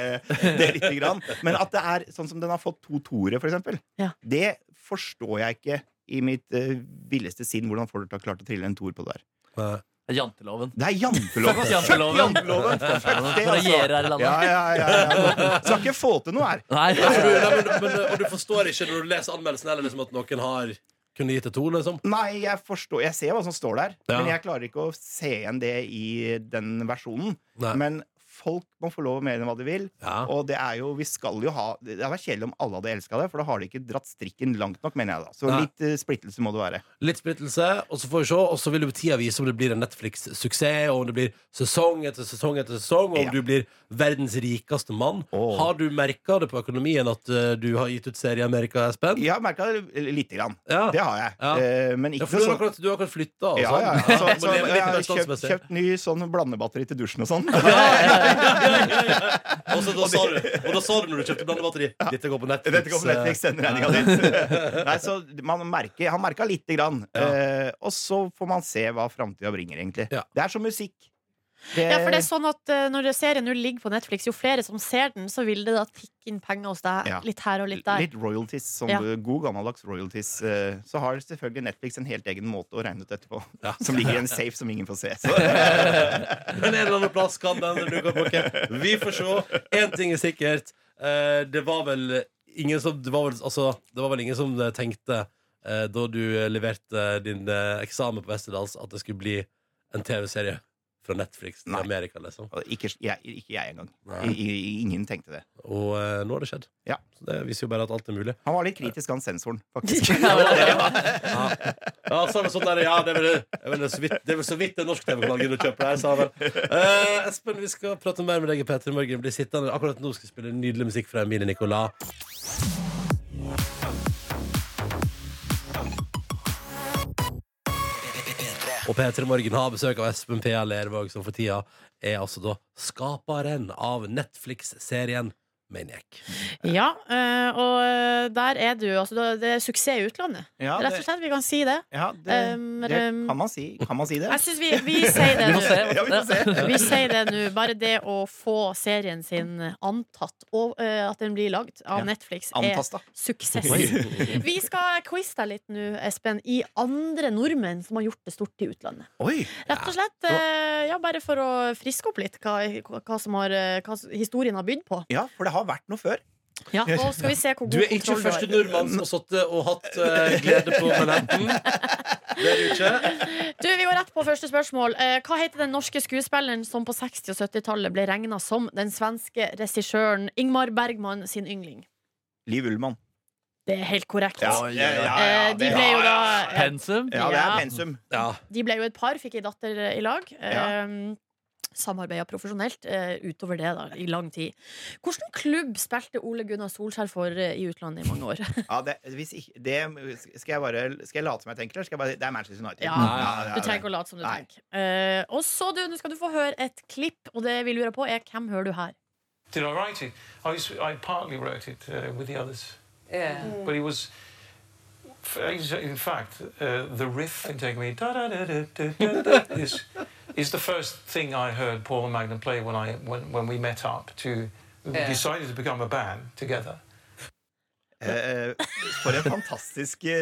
det lite grann. Men at det er sånn som den har fått to toere, for eksempel, Ja. det forstår jeg ikke i mitt eh, villeste sinn hvordan folk har klart å trille en toer på det der. Nei. Janteloven. Det er janteloven! Janteloven. Janteloven. Fuck det, For å altså. gjøre her i Ja, landet. ja, ja, ja. Skal ikke få til noe her. Ja, Nei. altså, for du, nei, men, men, og du forstår ikke når du leser anmeldelsen heller, liksom, at noen har kunne gitt det to, liksom? Nei, jeg forstår Jeg ser hva som står der, Ja. men jeg klarer ikke å se igjen det i den versjonen. Nei. Men folk må få lov å mene hva de vil. Ja. Og det er jo, vi skal jo ha Det hadde vært kjedelig om alle hadde elska det, for da har de ikke dratt strikken langt nok, mener jeg da. Så Nei. litt eh, splittelse må det være. Litt splittelse, og så får vi se. Og så vil jo tida vise om det blir en Netflix-suksess, og om det blir sesong etter sesong etter sesong, og om Ja. du blir verdens rikeste mann. Åh. Har du merka det på økonomien at eh, du har gitt ut serie i Amerika, Espen? Jeg har merka det lite grann. Ja. Det har jeg. Ja. Eh, Ja, Men ikke for du har sånn akkurat, du har akkurat flytta og ja, sånn. ja, ja. Så, Du må så, leve litt jeg har mer kjøpt, standsmessig. kjøpt ny sånn blandebatteri til dusjen og sånn. Og så da sa du Og da sa du når du kjøpte blandebatteri Dette går på Netflix. eh. Dette kommer Netflix, send regninga dit. Nei, så man merker, han merka lite grann. Eh, og så får man se hva framtida bringer, egentlig. Ja. Det er som musikk. Det, Ja, for det er sånn at eh, Når serien nå ligger på Netflix, jo flere som ser den, så vil det da tikke inn penger hos deg. Ja. Litt her og litt der. litt royalties. Som Ja. God gammeldags royalties. Eh, så har selvfølgelig Netflix en helt egen måte å regne ut etterpå. Som ligger i en safe som ingen får se. Så, Men en eller annen plass kan den som dukker opp. ok. Vi får se. Én ting er sikkert. eh, Det var vel ingen som Det var vel, altså, det var vel ingen som eh, tenkte eh, da du eh, leverte din eh, eksamen på Westerdals, at det skulle bli en TV-serie fra Netflix til Nei. Amerika, liksom. og ikke, jeg, ikke jeg engang. Nei. I, i, ingen tenkte det. Og eh, nå har det skjedd. Ja. Så det viser jo bare at alt er mulig. Han var litt kritisk, han sensoren, faktisk. Ja, så er det sånn der, ja, det er vel, det er vel så vidt, det er vel så vidt en norsk TV-kanal gidder å kjøpe det her, sa han vel. Eh, Espen, vi skal prate mer med deg i P3 Morgen. Bli sittende. Akkurat nå skal vi spille nydelig musikk fra Emilie Nicolas. Og P3 Morgen har besøk av Espen P.A. Lervåg, som for tida er altså da skaperen av Netflix-serien Maniac. Ja, eh, og eh, der er du. Altså, da- det er suksess i utlandet. Ja, Rett og det- slett, vi kan si det. Ja, det, Um, det um, kan man si. Kan man si det? Jeg syns vi, vi sier det Vi nå. får se. Ja, vi får se. Vi sier det nå. Bare det å få serien sin antatt, og eh, at den blir lagd av Ja. Netflix, er Antasta. suksess. Vi skal quize deg litt nå, Espen, i andre nordmenn som har gjort det stort i utlandet. Oi! Rett og slett, eh, ja, bare for å friske opp litt hva, hva, som har, eh, hva historien har bydd på. Ja, for det har vært noe før. Ja, og skal vi se hvor Du god er ikke kontroll du første har. nordmann som har sittet og hatt eh, glede på eh, Manhattan. Det er du ikke. Du, Vi går rett på første spørsmål. Eh, Hva heter den norske skuespilleren som på 60- og 70-tallet ble regna som den svenske regissøren Ingmar Bergman sin yngling? Liv Ullmann. Det er helt korrekt. Ja, ja, ja, ja, Eh, De det- ble jo ja, da ja. Pensum? Ja, det er Ja. pensum. De ble jo et par, fikk ei datter eh, i lag. Ja. Eh, Samarbeida profesjonelt eh, utover det da, i lang tid. Hvilken klubb spilte Ole Gunnar Solskjær for eh, i utlandet i mange år? Ja, det, hvis ikke, det skal, jeg bare, skal jeg late som jeg tenker, eller skal jeg bare Det er Manchester United. Ja, Du trenger ikke å late som du Nei. tenker. Eh, og så du, nå skal du få høre et klipp, og det vi lurer på, er hvem hører du her? Did I write it? I, s- I partly wrote it uh, with the others. Yeah. Mm. But it was, f- in fact, uh, the riff in Take Me da da da da da da is, is the first thing I heard Paul and Magnum play when I when, when we met up to we Yeah. decided to become a band together. Eh, for en fantastisk eh,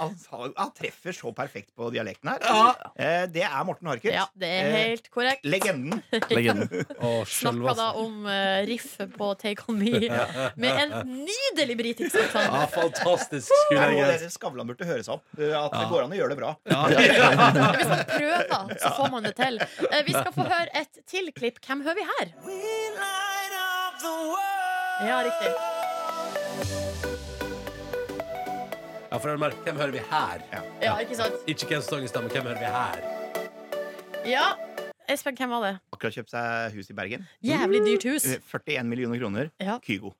han, han treffer så perfekt på dialekten her. Eh, det er Morten Harket. Eh, Ja, det er helt korrekt. Legenden. Legenden. Snakka altså. da om eh, riffet på Take On Me med en nydelig britisk aksent. Ja, fantastisk Her må skulegenser. dere Skavlan burde høre seg opp. eh, At det går an å gjøre det bra. Hvis man prøver, så får man det til. Eh, vi skal få høre et til klipp. Hvem hører vi her? Ja, riktig. Ja, for Elmer, hvem hører vi her? Ja, ikke sant? Ikke hvem som stemmer, hvem hører vi her? Ja. Espen, hvem var det? Akkurat kjøpt seg hus i Bergen. Jævlig dyrt hus. Eh, 41 millioner kroner. Ja. Kygo.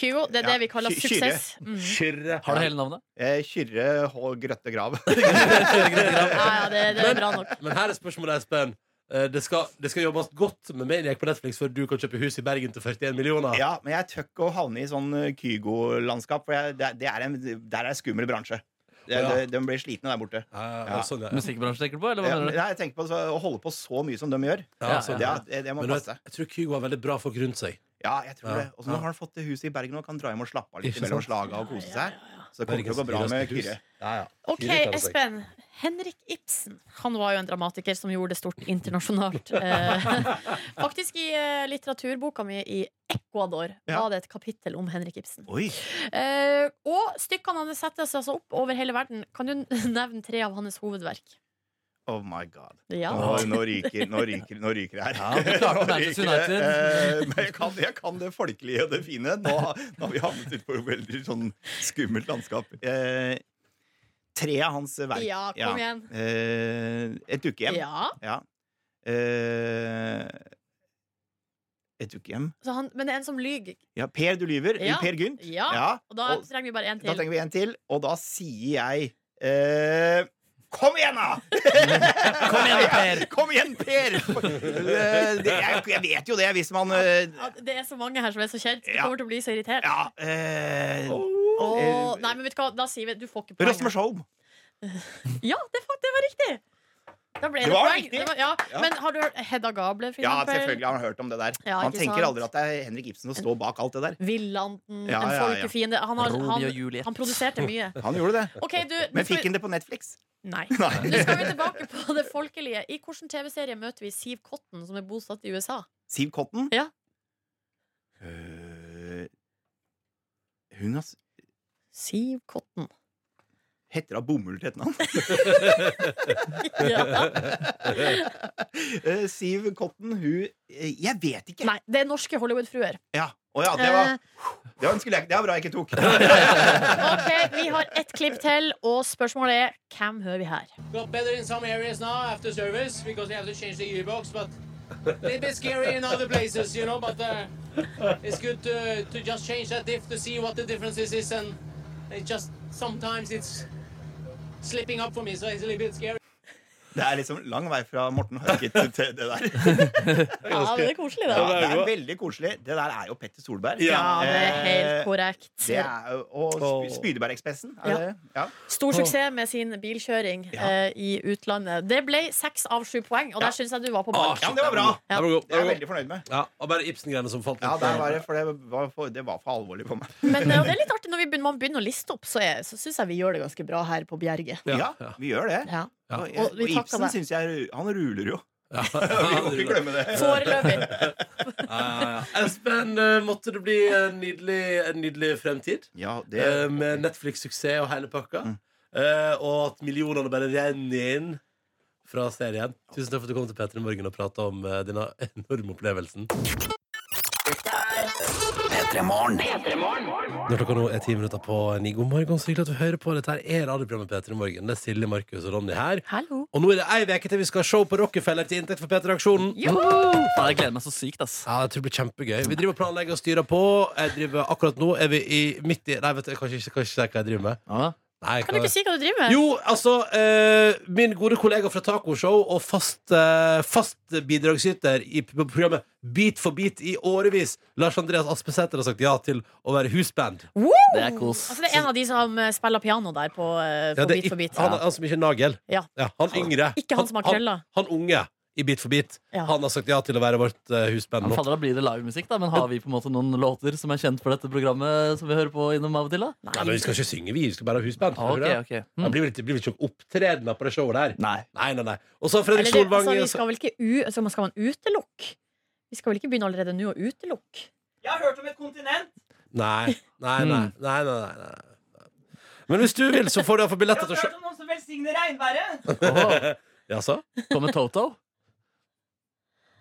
Kygo. Det er det Ja, vi kaller Ky- Kyrre. suksess. Mm. Har du hele navnet? Eh, Kyrre H. Grøtte Grav. Ja, ja, det, det er bra nok. Men her er spørsmålet, Espen. Eh, Det skal, det skal jobbes godt med Maniac på Netflix før du kan kjøpe hus i Bergen til 41 millioner. Ja, men jeg tør ikke å havne i sånn eh, Kygo-landskap, for jeg, det, det er en, der er en skummel bransje. Det, Ja. det, de blir slitne der borte. Ja. sånn, ja. Musikkbransjen tenker du på, eller hva Ja, mener men du? jeg tenker på så, å holde på så mye som de gjør. Ja, sånn. det, det, det må Men du vet, passe. jeg tror Kygo har veldig bra folk rundt seg. Ja, jeg tror Ja. det. Og så nå har han fått det huset i Bergen og kan dra hjem og slappe av litt Ikke mellom sant? slaga og kose seg. Så det kommer til å gå Bergens bra med dyreste hus. Kyrre. Ok, Espen. Henrik Ibsen han var jo en dramatiker som gjorde det stort internasjonalt. Eh, Faktisk i eh, litteraturboka mi i Ecuador var det et kapittel om Henrik Ibsen. Oi. Eh, og stykkene hans settes altså opp over hele verden. Kan du n- nevne tre av hans hovedverk? Oh my god. Ja. Oi, nå ryker nå ryker, nå ryker det her. Ja, du klarte Nå Manchester ryker det. United. Eh, Men jeg kan, jeg kan det folkelige og det fine. Nå, nå har vi havnet ute på et veldig sånn skummelt landskap. Eh, tre av hans verk. Ja, kom igjen. Eh, et ukehjem. Ja. Eh, et ukehjem. Så han, men det er en som lyver. Ja, Per, du lyver. Ja. Per Gynt. Ja. Ja. Og da trenger vi bare én Da til. trenger vi en til, og da sier jeg eh, Kom igjen, da! Kom igjen, Per! Kom igjen, Per! Eh, det, jeg, jeg vet jo det, hvis man eh, Ja, Det er så mange her som er så kjent. Du Ja. kommer til å bli så irritert. Ja. eh, Åh, nei, men vet du hva, da sier vi Du får ikke poeng. Rasmus Holm. Ja, det, fa- det var riktig! Da ble Det det, var poeng. riktig. Det var, ja. Ja. Men har du hørt Hedda Gabler, for Ja, eksempel? selvfølgelig har han hørt om det der. Ja, Man ikke tenker sant? aldri at det er Henrik Ibsen som står bak alt det der. Villanden, Ja, en ja, ja. folkefiende. Han, har, Romeo og han, Juliet. han produserte mye. Han gjorde det. Ok, du, nå Men skal vi- fikk han det på Netflix? Nei. Nei. Nå skal vi tilbake på det folkelige. I hvilken TV-serie møter vi Siv Cotton, som er bosatt i USA? Siv Cotton? Ja. Eh, hun har s- Siv Cotton. Heter hun Bomull til etternavn? Eh, Siv Cotton, hun eh, Jeg vet ikke. Nei, Eh. det er norske Hollywood-fruer. Ja. Å ja, det var Det var, en skulle jeg, det var bra jeg ikke tok. Ok, Vi har ett klipp til, og spørsmålet er hvem hører vi her? Got better in some areas now after service because we have to change the gearbox, but a little bit scary in other places, you know. But uh, it's good to, to just change that diff to see what the differences is, and it just sometimes it's slipping up for me, so it's a little bit scary. Det er liksom lang vei fra Morten Harket til det der. Ja, det er koselig, det. Ja, det er veldig koselig. Det der er jo Petter Solberg. Ja, det er Eh, helt korrekt. Det er, jo- og Sp- Spydebergekspressen. Er Ja. det? Ja. Stor suksess med sin bilkjøring eh, i utlandet. Det ble seks av sju poeng, og der syns jeg du var på ball. Ah, shit, Det var godt, Det er jeg det var veldig fornøyd med. godt. Ja, og bare Ibsen-greiene som falt Ja, litt. der var det, for det var for, det var for alvorlig for meg. Men eh, det er litt artig når vi begynner, man begynner å liste opp, så, er- så syns jeg vi gjør det ganske bra her på Bjerget. Ja, vi gjør det. Ja. Og, Og vi og takker Ibsen deg. syns jeg Han ruler jo. vi må ikke glemme det. Foreløpig. Ja, ja, ja. Espen, eh, måtte det bli en nydelig, en nydelig fremtid Ja, Eh, med Netflix-suksess og hele pakka. eh, og at millionene bare renner inn fra serien. Tusen takk for at du kom til P3 Morgen og prata om eh, denne enorme opplevelsen. Når klokka nå er ti minutter på ni, god morgen, så hyggelig at du hører på. Dette her er radioprogrammet P3 Morgen. Det er Silje, Markus og Ronny her. Hallo. Og nå er det ei uke til vi skal ha show på Rockefeller til inntekt for P3 Aksjonen. Jeg gleder meg så sykt, ass. Ja, jeg tror det blir kjempegøy. Vi driver og planlegger og styrer på. Jeg driver, akkurat nå er vi i, midt i Nei, vet du, jeg kan ikke, jeg kan ikke si hva jeg driver med. Nei, Kan du ikke si hva du driver med? Jo, altså eh, Min gode kollega fra Tacoshow og fast, eh, fast bidragsyter i p- programmet Beat for beat i årevis, Lars Andreas Aspesæter, har sagt ja til å være husband. Woo! Det er kos. Altså, det er en av de som eh, spiller piano der på, eh, på Ja, det er Bit for ikk- bit. Han, han som ikke er nagel. Ja. han yngre. Ikke han som har krøller. Han, han unge i Bit for bit. Han har sagt ja til å være vårt eh, husband Men nå. fader, da blir det livemusikk, da. Men har vi på en måte noen låter som er kjent for dette programmet, som vi hører på innom av og til, da? Nei, men Vi skal ikke synge, vi. Vi skal bare ha husband. Ah, ok, Hører du det? ok. Mm. Det blir vel ikke, blir vel ikke noe opptredener på det showet der. Nei. Nei, nei, nei. Og så har Fredrik Eller det, Solvang altså, vi skal vel ikke u, altså, man skal man utelukke? Vi skal vel ikke begynne allerede nå å utelukke? Jeg har hørt om et kontinent! Nei, nei, nei, Mm. nei, nei, nei, nei. Men hvis du vil, så får du iallfall billetter til å om noen som velsigner regnværet! se Jaså? Kommer Toto?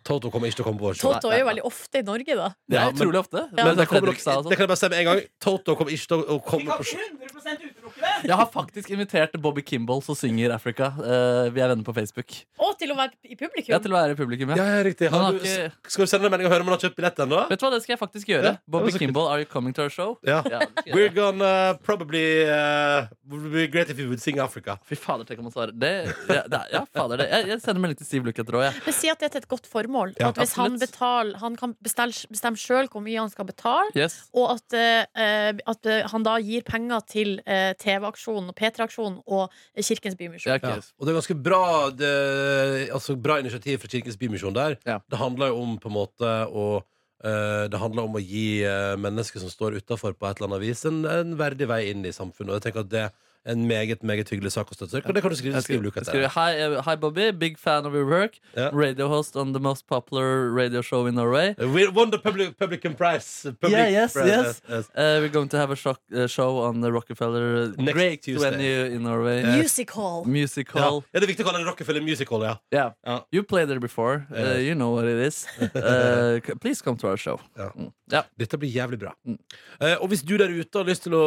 Toto kommer ikke til å komme på vårt show. Toto er jo veldig ofte i Norge, da. Ja, men- Ja. Men det, kommer, nok- altså. det kan jeg bare si med en gang. Toto kommer ikke til å komme på show. 100 utelukke det! Jeg har faktisk invitert Bobby Kimball, som synger Africa. Eh, vi er venner på Facebook. Og til å være i publikum. Ja, til å være i publikum, ja. Ja, ja, riktig. Han Har har du, ikke- skal du sende en melding og høre om han har kjøpt billett ennå? Vet du hva, det skal jeg faktisk gjøre. Ja, det Bobby var så Kimball, are you coming to our show? Ja. det skal jeg We're gonna probably uh, would be great if you would sing Africa. Fy fader, tenk om han svarer. Det, ja, det, er- ja, fader, det. Jeg, jeg sender melding til Siv Lukketråd, jeg. Men si at det er til et godt formål. Ja, at hvis han, absolutt. betaler, han kan bestelle, bestemme sjøl hvor mye han skal betale, Yes. og at, eh, at eh, han da gir penger til eh, TV-aksjonen, P3-aksjonen og Kirkens Bymisjon. Ja. Og det er ganske bra det, Altså bra initiativ fra Kirkens Bymisjon der. Det handler jo om på en måte å eh, det handler om å gi eh, mennesker som står utafor på et eller annet vis, en, en verdig vei inn i samfunnet. Og jeg tenker at det er en meget meget hyggelig sak å støtte. Det kan du skrive, Jeg skriver- skrive Lukas jeg skriver, Hi, eh, hi, Bobby, big fan of your work. Radio host on the most popular radio show in Norway. Eh, We won the public, Publican Prize. Public yeah, yes, prize, yes. yes, yes. Uh, we're going to have a shock, uh, show on the Rockefeller Next Great Tuesday. venue in Norway. Yes. Music hall. Music Ja. hall. ja, Det er viktig å kalle det Rockefeller Music Hall, ja. Yeah. You played there before. Uh, Yes. you know what it is. Uh, c- please come to our show. Mm. Ja. Dette blir jævlig bra. Eh, og hvis du der ute har lyst til å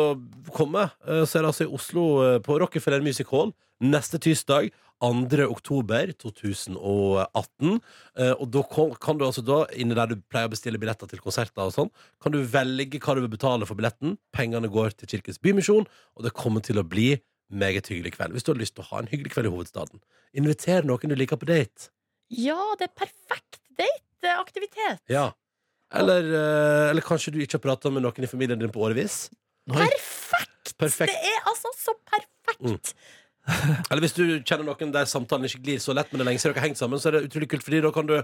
komme, eh, så er det altså i Oslo eh, på Rockefeller Music Hall neste tirsdag. 2. oktober 2018. Eh, og da kom- kan du altså da, inne der du pleier å bestille billetter til konserter og sånn, kan du velge hva du vil betale for billetten. Pengene går til Kirkens Bymisjon, og det kommer til å bli meget hyggelig kveld. Hvis du har lyst til å ha en hyggelig kveld i hovedstaden, inviter noen du liker på date. Ja, det er perfekt dateaktivitet. Ja. Eller, eh, eller kanskje du ikke har prata med noen i familien din på årevis. Perfekt! Det er altså så perfekt! Mm. Eller hvis du kjenner noen der samtalen ikke glir så lett, men det er lenge siden dere har hengt sammen, så er det utrolig kult, fordi da kan du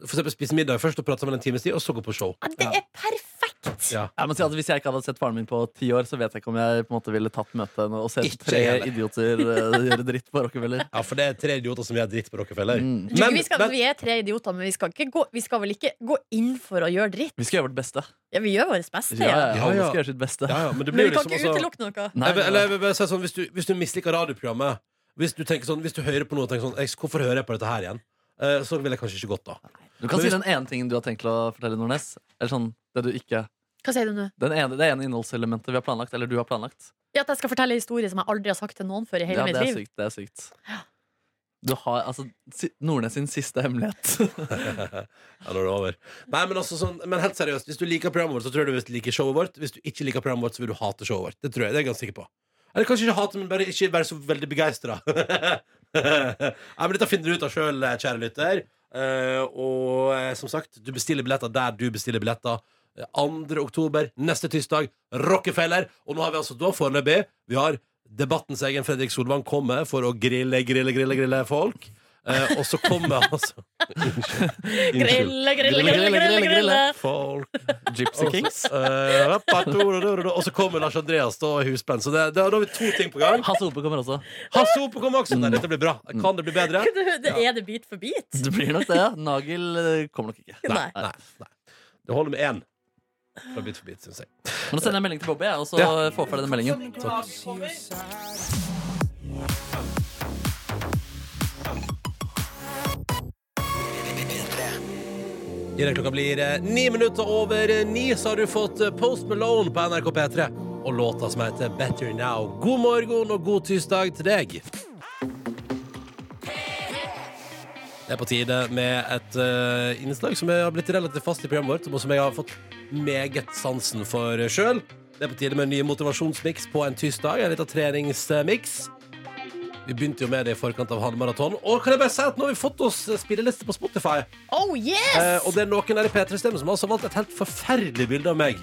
for eksempel spise middag først og prate sammen en times tid, og så gå på show. Det er perfekt! Ja. Jeg må si at Hvis jeg ikke hadde sett faren min på ti år, så vet jeg ikke om jeg på en måte ville tatt møtet henne og sett Ikke tre heller. idioter eh, gjøre dritt på Rockefeller. Ja, for det er tre idioter som gjør dritt på Rockefeller. Jeg tror ikke vi, skal, vi er tre idioter, men vi skal, ikke gå, vi skal vel ikke gå inn for å gjøre dritt? Vi skal gjøre vårt beste. Ja, vi gjør vårt beste. Ja, ja, Ja, Alle ja. skal gjøre sitt beste. Ja, ja, men det Men blir vi jo kan liksom ikke også- utelukke noe. Nei, jeg vil- eller, jeg vil bare si sånn, hvis, du, hvis du misliker radioprogrammet Hvis du tenker sånn, hvis du hører på noe og tenker sånn «Eks, Hvorfor hører jeg på dette her igjen? Eh, så ville jeg kanskje ikke gått da. Du kan Men si hvis- den ene tingen du har tenkt å fortelle, Nordnes. Eller sånn, det du ikke Hva sier du nå? den ene, Det ene innholdselementet vi har planlagt, eller du har planlagt. Ja, at jeg skal fortelle en historie som jeg aldri har sagt til noen før i hele Ja, det mitt er liv. sykt. Det er sykt. Du har altså si- Nordnes sin siste hemmelighet. Ja, nå er det over. Nei, men, altså, sånn, men helt seriøst, hvis du liker programmet vårt, så tror jeg du vil like showet vårt. Hvis du ikke liker programmet vårt, så vil du hate showet vårt. Det tror jeg, det er jeg ganske sikker på. Eller kanskje ikke hate, men bare ikke være så veldig begeistra. Nei, men dette finner du ut av sjøl, kjære lytter. Eh, og eh, som sagt, du bestiller billetter der du bestiller billetter. Eh, 2. oktober, neste tirsdag, Rockefeller. Og nå har vi altså da foreløpig Vi har debattens egen Fredrik Solvang komme for å grille, grille, grille, grille folk. Eh, og så kommer altså Grille, grille, grille, grille, grille. Folk Gypsy Kings. Eh, rappa, do, do, do, do, do. Og så kommer Lars Andreas da i husband. Så det, det, da har vi to ting på gang. Hasse Hope kommer også. Hasse Hope kommer også Nei, dette blir bra. Kan det bli bedre? Det- Det er det bit for bit. Det blir nok det. ja. Nagel eh, kommer nok ikke. Nei. Nei, Det holder med én. Fra bit for bit, syns jeg. Men da sender jeg melding til Bobby, jeg, og så Ja. får jeg ferdig den meldingen. I det klokka blir eh, ni minutter over eh, ni, så har du fått eh, Post Malone på NRK P3 og låta som heter Better Now. God morgen og god tirsdag til deg. Det er på tide med et eh, innslag som jeg har blitt relativt fast i programmet vårt, og som jeg har fått meget sansen for sjøl. Det er på tide med en ny motivasjonsmiks på en tirsdag. En liten treningsmiks. Vi begynte jo med det i forkant av halvmaraton. Og kan jeg bare si at nå har vi fått oss spilleliste på Spotify. Oh yes! Eh, og det er noen her i P3-stemmen som altså har valgt et helt forferdelig bilde av meg.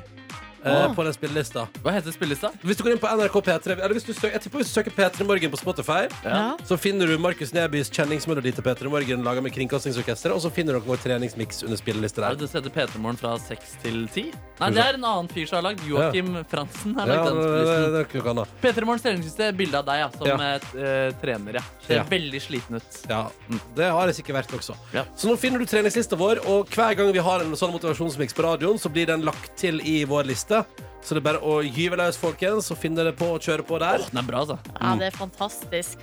eh, Åh. På den spillelista. Hva heter spillelista? Hvis du går inn på NRK P3 Eller hvis du søker, Jeg tipper hvis du søker P3 Morgen på Spotify, Ja. så finner du Markus Nebys kjenningsmelodi til P3 Morgen laga med Kringkastingsorkesteret, og så finner dere vår treningsmiks under spillelista Er der. det det som heter P3morgen fra seks til ti? Nei, det er en annen fyr som har lagd. Joakim Fransen har Ja, det, lagd den det, det, spillelisten. det er ikke noe annet. P3 Morgens treningssystem er bilde av deg ja, som Ja. eh, t- eh, trener. Ja. Ser Ja. veldig sliten ut. Ja, mm, det har jeg sikkert vært også. Så nå finner du treningslista vår, og hver gang vi har en sånn motivasjonsmiks på radioen, så blir den lagt til i vår liste. Så det er bare å gyve løs, folkens, og finne det på og kjøre på der. den er bra, altså. Ja, Mm. det er fantastisk.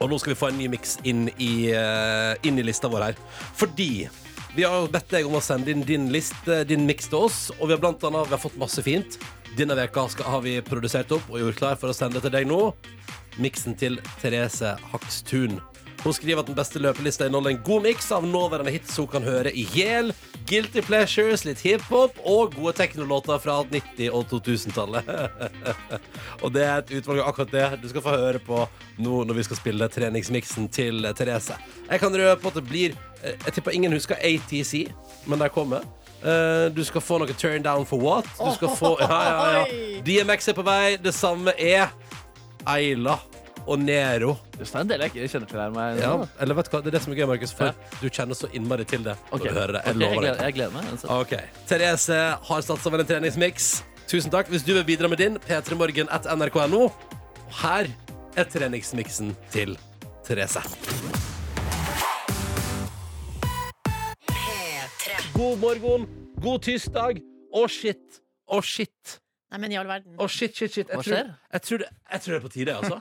Og nå skal vi få en ny miks inn, i, eh, inn i lista vår her. Fordi vi har jo bedt deg om å sende inn din liste, din miks til oss, og vi har blant annet vi har fått masse fint. Denne veka skal, har vi produsert opp og gjort klar for å sende til deg nå. Miksen til Therese Hakstun. Hun skriver at den beste løpelista inneholder en god miks av nåværende hits hun kan høre i hjel, guilty pleasures, litt hiphop og gode teknolåter fra 90- og 2000-tallet. og det er et utvalg av akkurat det du skal få høre på nå når vi skal spille treningsmiksen til Therese. Jeg kan røpe at det blir eh, Jeg tipper ingen husker ATC, men de kommer. Eh, Du skal få noe turn down for what? Du skal få Ja, ja, ja. DMX er på vei. Det samme er Eila og Nero. Det er en del jeg ikke kjenner til her. Meg, Ja, eller vet du hva, Det er det som er gøy, Markus, for du kjenner så innmari til det. når Ok. du hører det. Jeg Ok, jeg lover deg. gleder- jeg gleder meg, altså. Ok. Therese har satt sammen en treningsmiks. Tusen takk. Hvis du vil bidra med din, p3morgen at nrk.no. Og Her er treningsmiksen til Therese. God morgen, god tirsdag. Å, shit. Å, shit. Nei, men i all verden. Å, shit, shit, shit. Jeg Hva tror, skjer? jeg, tror det, jeg tror det er på tide, altså.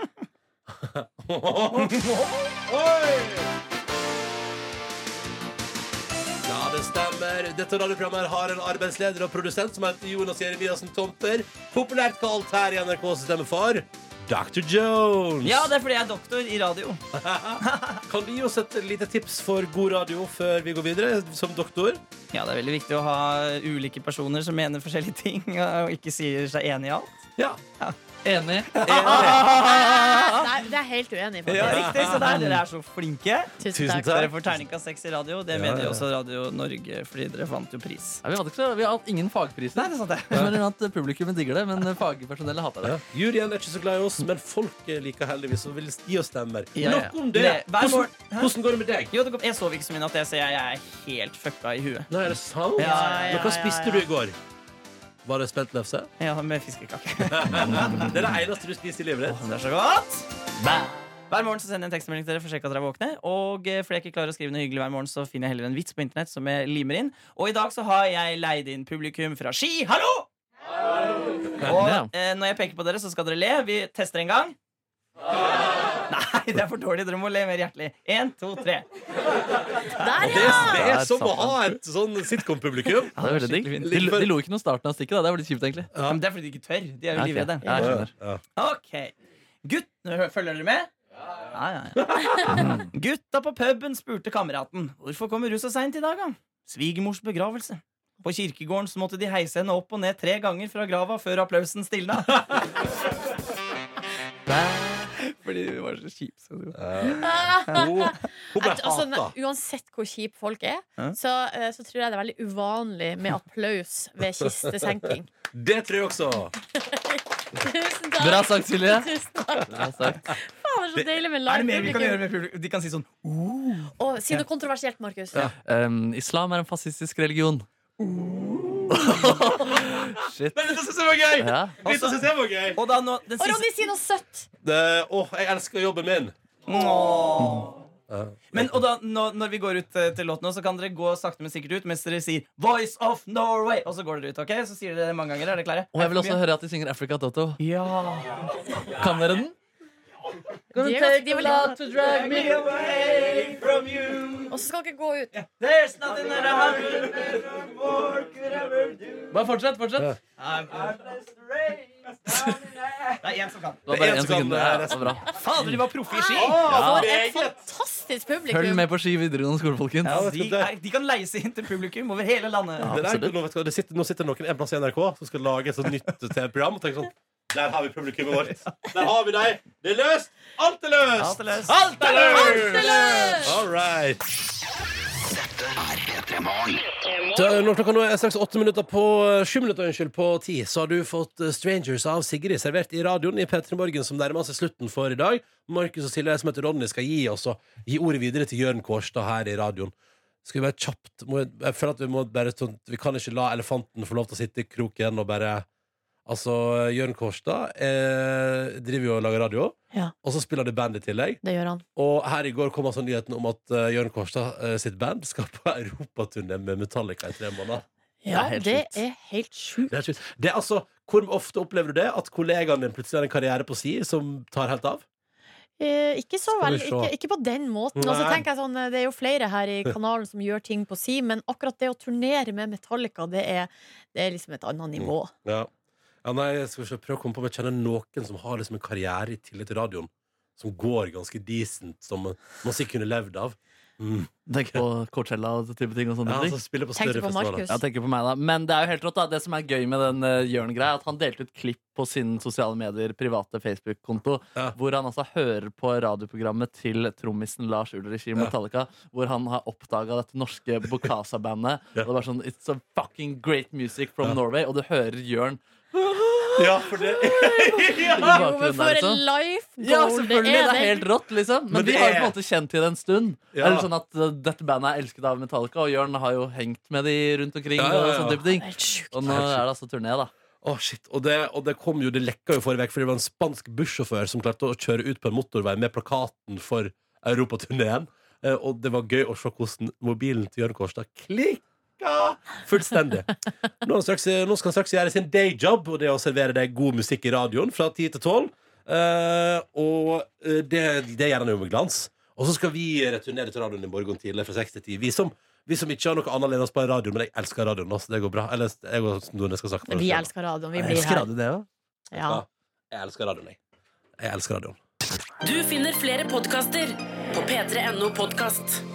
Ja, det stemmer. Dette radioprogrammet her har en arbeidsleder og produsent som heter Jonas Jeremiassen Tomter. Populært kalt her i NRK-systemet for Dr. Jones. Ja, det er fordi jeg er doktor i radio. Kan du gi oss et lite tips for god radio før vi går videre, som doktor? Ja, det er veldig viktig å ha ulike personer som mener forskjellige ting, og ikke sier seg enig i alt. Ja. Altså, Enig. Nei, det er jeg helt uenig i, faktisk. Ja, riktig. Så der, dere er så flinke. Tusen Tusen takk. takk. Dere får terningkast seks i radio. Det Ja, mener ja. jo også Radio Norge, fordi dere vant jo pris. Ja, vi, hadde ikke, så- vi har hatt ingen fagpriser. Nei, det er sant det. at publikummet digger det, men fagpersonellet hater det. Juryen er ikke så glad i oss, men folk liker heldigvis og vil gi oss stemmer. Ja, ja. Nok om det! Det- hver morgen- Hvordan, hvordan går det med deg? Jo, det går- jeg sov ikke så mye i natt, jeg, så jeg er helt fucka i huet. Nei, er det sant? Ja, ja, ja, Men hva spiste ja, du ja. i går? Var det spent lefse? Ja, med fiskekake. det er det eneste du spiser i livet ditt. Det er så godt! Hver morgen så sender jeg en tekstmelding til dere for å sjekke at dere er våkne. Og eh, fordi jeg ikke klarer å skrive noe hyggelig hver morgen, så finner jeg heller en vits på internett som jeg limer inn. Og i dag så har jeg leid inn publikum fra Ski. Hallo! Og eh, når jeg peker på dere, så skal dere le. Vi tester en gang. Nei, det er for dårlig. Dere må le mer hjertelig. Én, to, tre. Og det, det er som å ha et sånn sitcom-publikum. Ja, det er veldig digg. Skikkelig fint. De, de lo ikke noe i starten av stikket. Da. Det er veldig kjipt, egentlig. Ja, men det er fordi de ikke tør. De er jo Ja, ok. livredde. Ja, jeg skjønner. Ok. Gutt, nå følger dere med? Ja, ja, ja. Gutta på puben spurte kameraten hvorfor kommer du så seint i dag, da? Svigermors begravelse. På kirkegården så måtte de heise henne opp og ned tre ganger fra grava før applausen stilna. Fordi hun var så kjip. Så du. Jeg- altså, ne- uansett hvor kjipe folk er, Ja. så, eh, så tror jeg det er veldig uvanlig med applaus ved kistesenking. Det tror jeg også. Tusen takk! Bra sagt, Silje. Tusen takk. Faen, det er så deilig med Er det mer vi kan gjøre live-publikum. med publikum? De kan si sånn Å, Si noe kontroversielt, Markus. Um, islam er en fascistisk religion. Shit. Men dette syns jeg var gøy! Ja. Dette synes jeg var gøy. Og, da nå, den Og Ronny, si noe søtt! Det, åh, jeg elsker jobben min. Men og da, nå, Når vi går ut eh, til låten, nå, så kan dere gå sakte, men sikkert ut mens dere sier 'Voice of Norway'. Og så går dere ut, ok? Så sier dere det mange ganger. Er dere klare? Og jeg vil også Er det høre at de synger Africa Toto. Ja Kan dere for den? mye? Gonna take a lot to drag me away from you. Og så skal dere gå ut. There's nothing that a hundred men of war could ever do. Bare fortsett, fortsett. I'm blessed to raise down in a- Det er én som kan. Det var bare én sekund. Ja, det var bra. Fader, de var proffe i ski! For et fantastisk publikum! Følg med på Ski videregående skole, folkens. de, er, de kan leie seg inn til publikum over hele landet. Det der, nå, vet du hva, det sitter, nå sitter det noen en plass i NRK som skal lage et sånt nytt TV-program. Og tenker sånn Der har vi publikummet vårt! Der har vi deg! Det er løst! Alt er løst! Alt er løst. Alt er løst! Alt er løst! All right. P3 Morgen. Da, Når klokka nå er straks åtte minutter på eh, sju minutter unnskyld, på ti, så har du fått eh, Strangers av Sigrid servert i radioen i P3 Morgen, som nærmer seg slutten for i dag. Markus og Silje, som heter Ronny, skal gi oss og gi ordet videre til Jørn Kårstad her i radioen. Skal vi være kjapt må, jeg- Jeg føler at vi må bare sånn Vi kan ikke la elefanten få lov til å sitte i kroken og bare Altså, Jørn Kårstad eh, driver jo og lager radio, Ja. og så spiller det band i tillegg. Det gjør han. Og her i går kom altså nyheten om at eh, Jørn Kårstad eh, sitt band skal på europaturné med Metallica i tre måneder. Ja, det er helt sjukt. Det er helt sjukt. Det er altså, hvor ofte opplever du det? At kollegaen din plutselig har en karriere på si som tar helt av? Eh, ikke så Skal vi veldig, se. ikke, ikke på den måten. Og så Nei. tenker jeg sånn, eh, Det er jo flere her i kanalen som gjør ting på si, men akkurat det å turnere med Metallica, det er, det er liksom et annet nivå. Ja. ja nei, jeg skal ikke prøve å komme på om jeg kjenner noen som har liksom en karriere i tillegg til radioen. Som går ganske decent, som man sikkert kunne levd av. Mm. Tenk på Coachella og type ting. Og sånne Ja, ting. altså, spiller på Tenk større på festivaler. Markus. Ja, tenker på meg da Men det er jo helt rått da Det som er gøy med den uh, Jørn-greia, er at han delte ut klipp på sin sosiale medier private Facebook-konto, hvor han altså hører på radioprogrammet til trommisen Lars Ulrich i Metallica, hvor han har oppdaga dette norske Bokasa-bandet. Og det var sånn It's a fucking great music from Norway. Og du hører Jørn Ja, for det Jo, men for liksom. en life goal ja, selvfølgelig. Det er, det. helt rått, liksom. Men, Men vi det har jo er- på en måte kjent til det en stund. Ja. Eller sånn at uh, Dette bandet er elsket av Metallica, og Jørn har jo hengt med de rundt omkring. Ja, ja, ja. Og sånn type ting Helt sjukt. Og nå Helt sjukt. er det altså turné, da. Å, shit. Og det, og det kom jo, det lekka jo forrige vekk, fordi det var en spansk bussjåfør som klarte å kjøre ut på en motorvei med plakaten for europaturnéen. Eh, Og det var gøy å se hvordan mobilen til Jørn Kårstad klikka fullstendig. Nå, er han straks, nå skal han straks gjøre sin dayjob, og det er å servere deg god musikk i radioen fra 10 til 12. Eh, og eh, det, det gjør han jo med glans. Og så skal vi returnere til radioen i morgen tidlig fra 6 til 10. Vi som, vi som ikke har noe annet enn å spare radioen, men jeg elsker radioen, altså. Det går bra. Eller jeg og Nordnes skal snakke for oss Vi selv. elsker radioen. Vi blir her. det Ja. Jeg elsker radioen, jeg. Jeg elsker radioen. Du finner flere podkaster på p3.no podkast.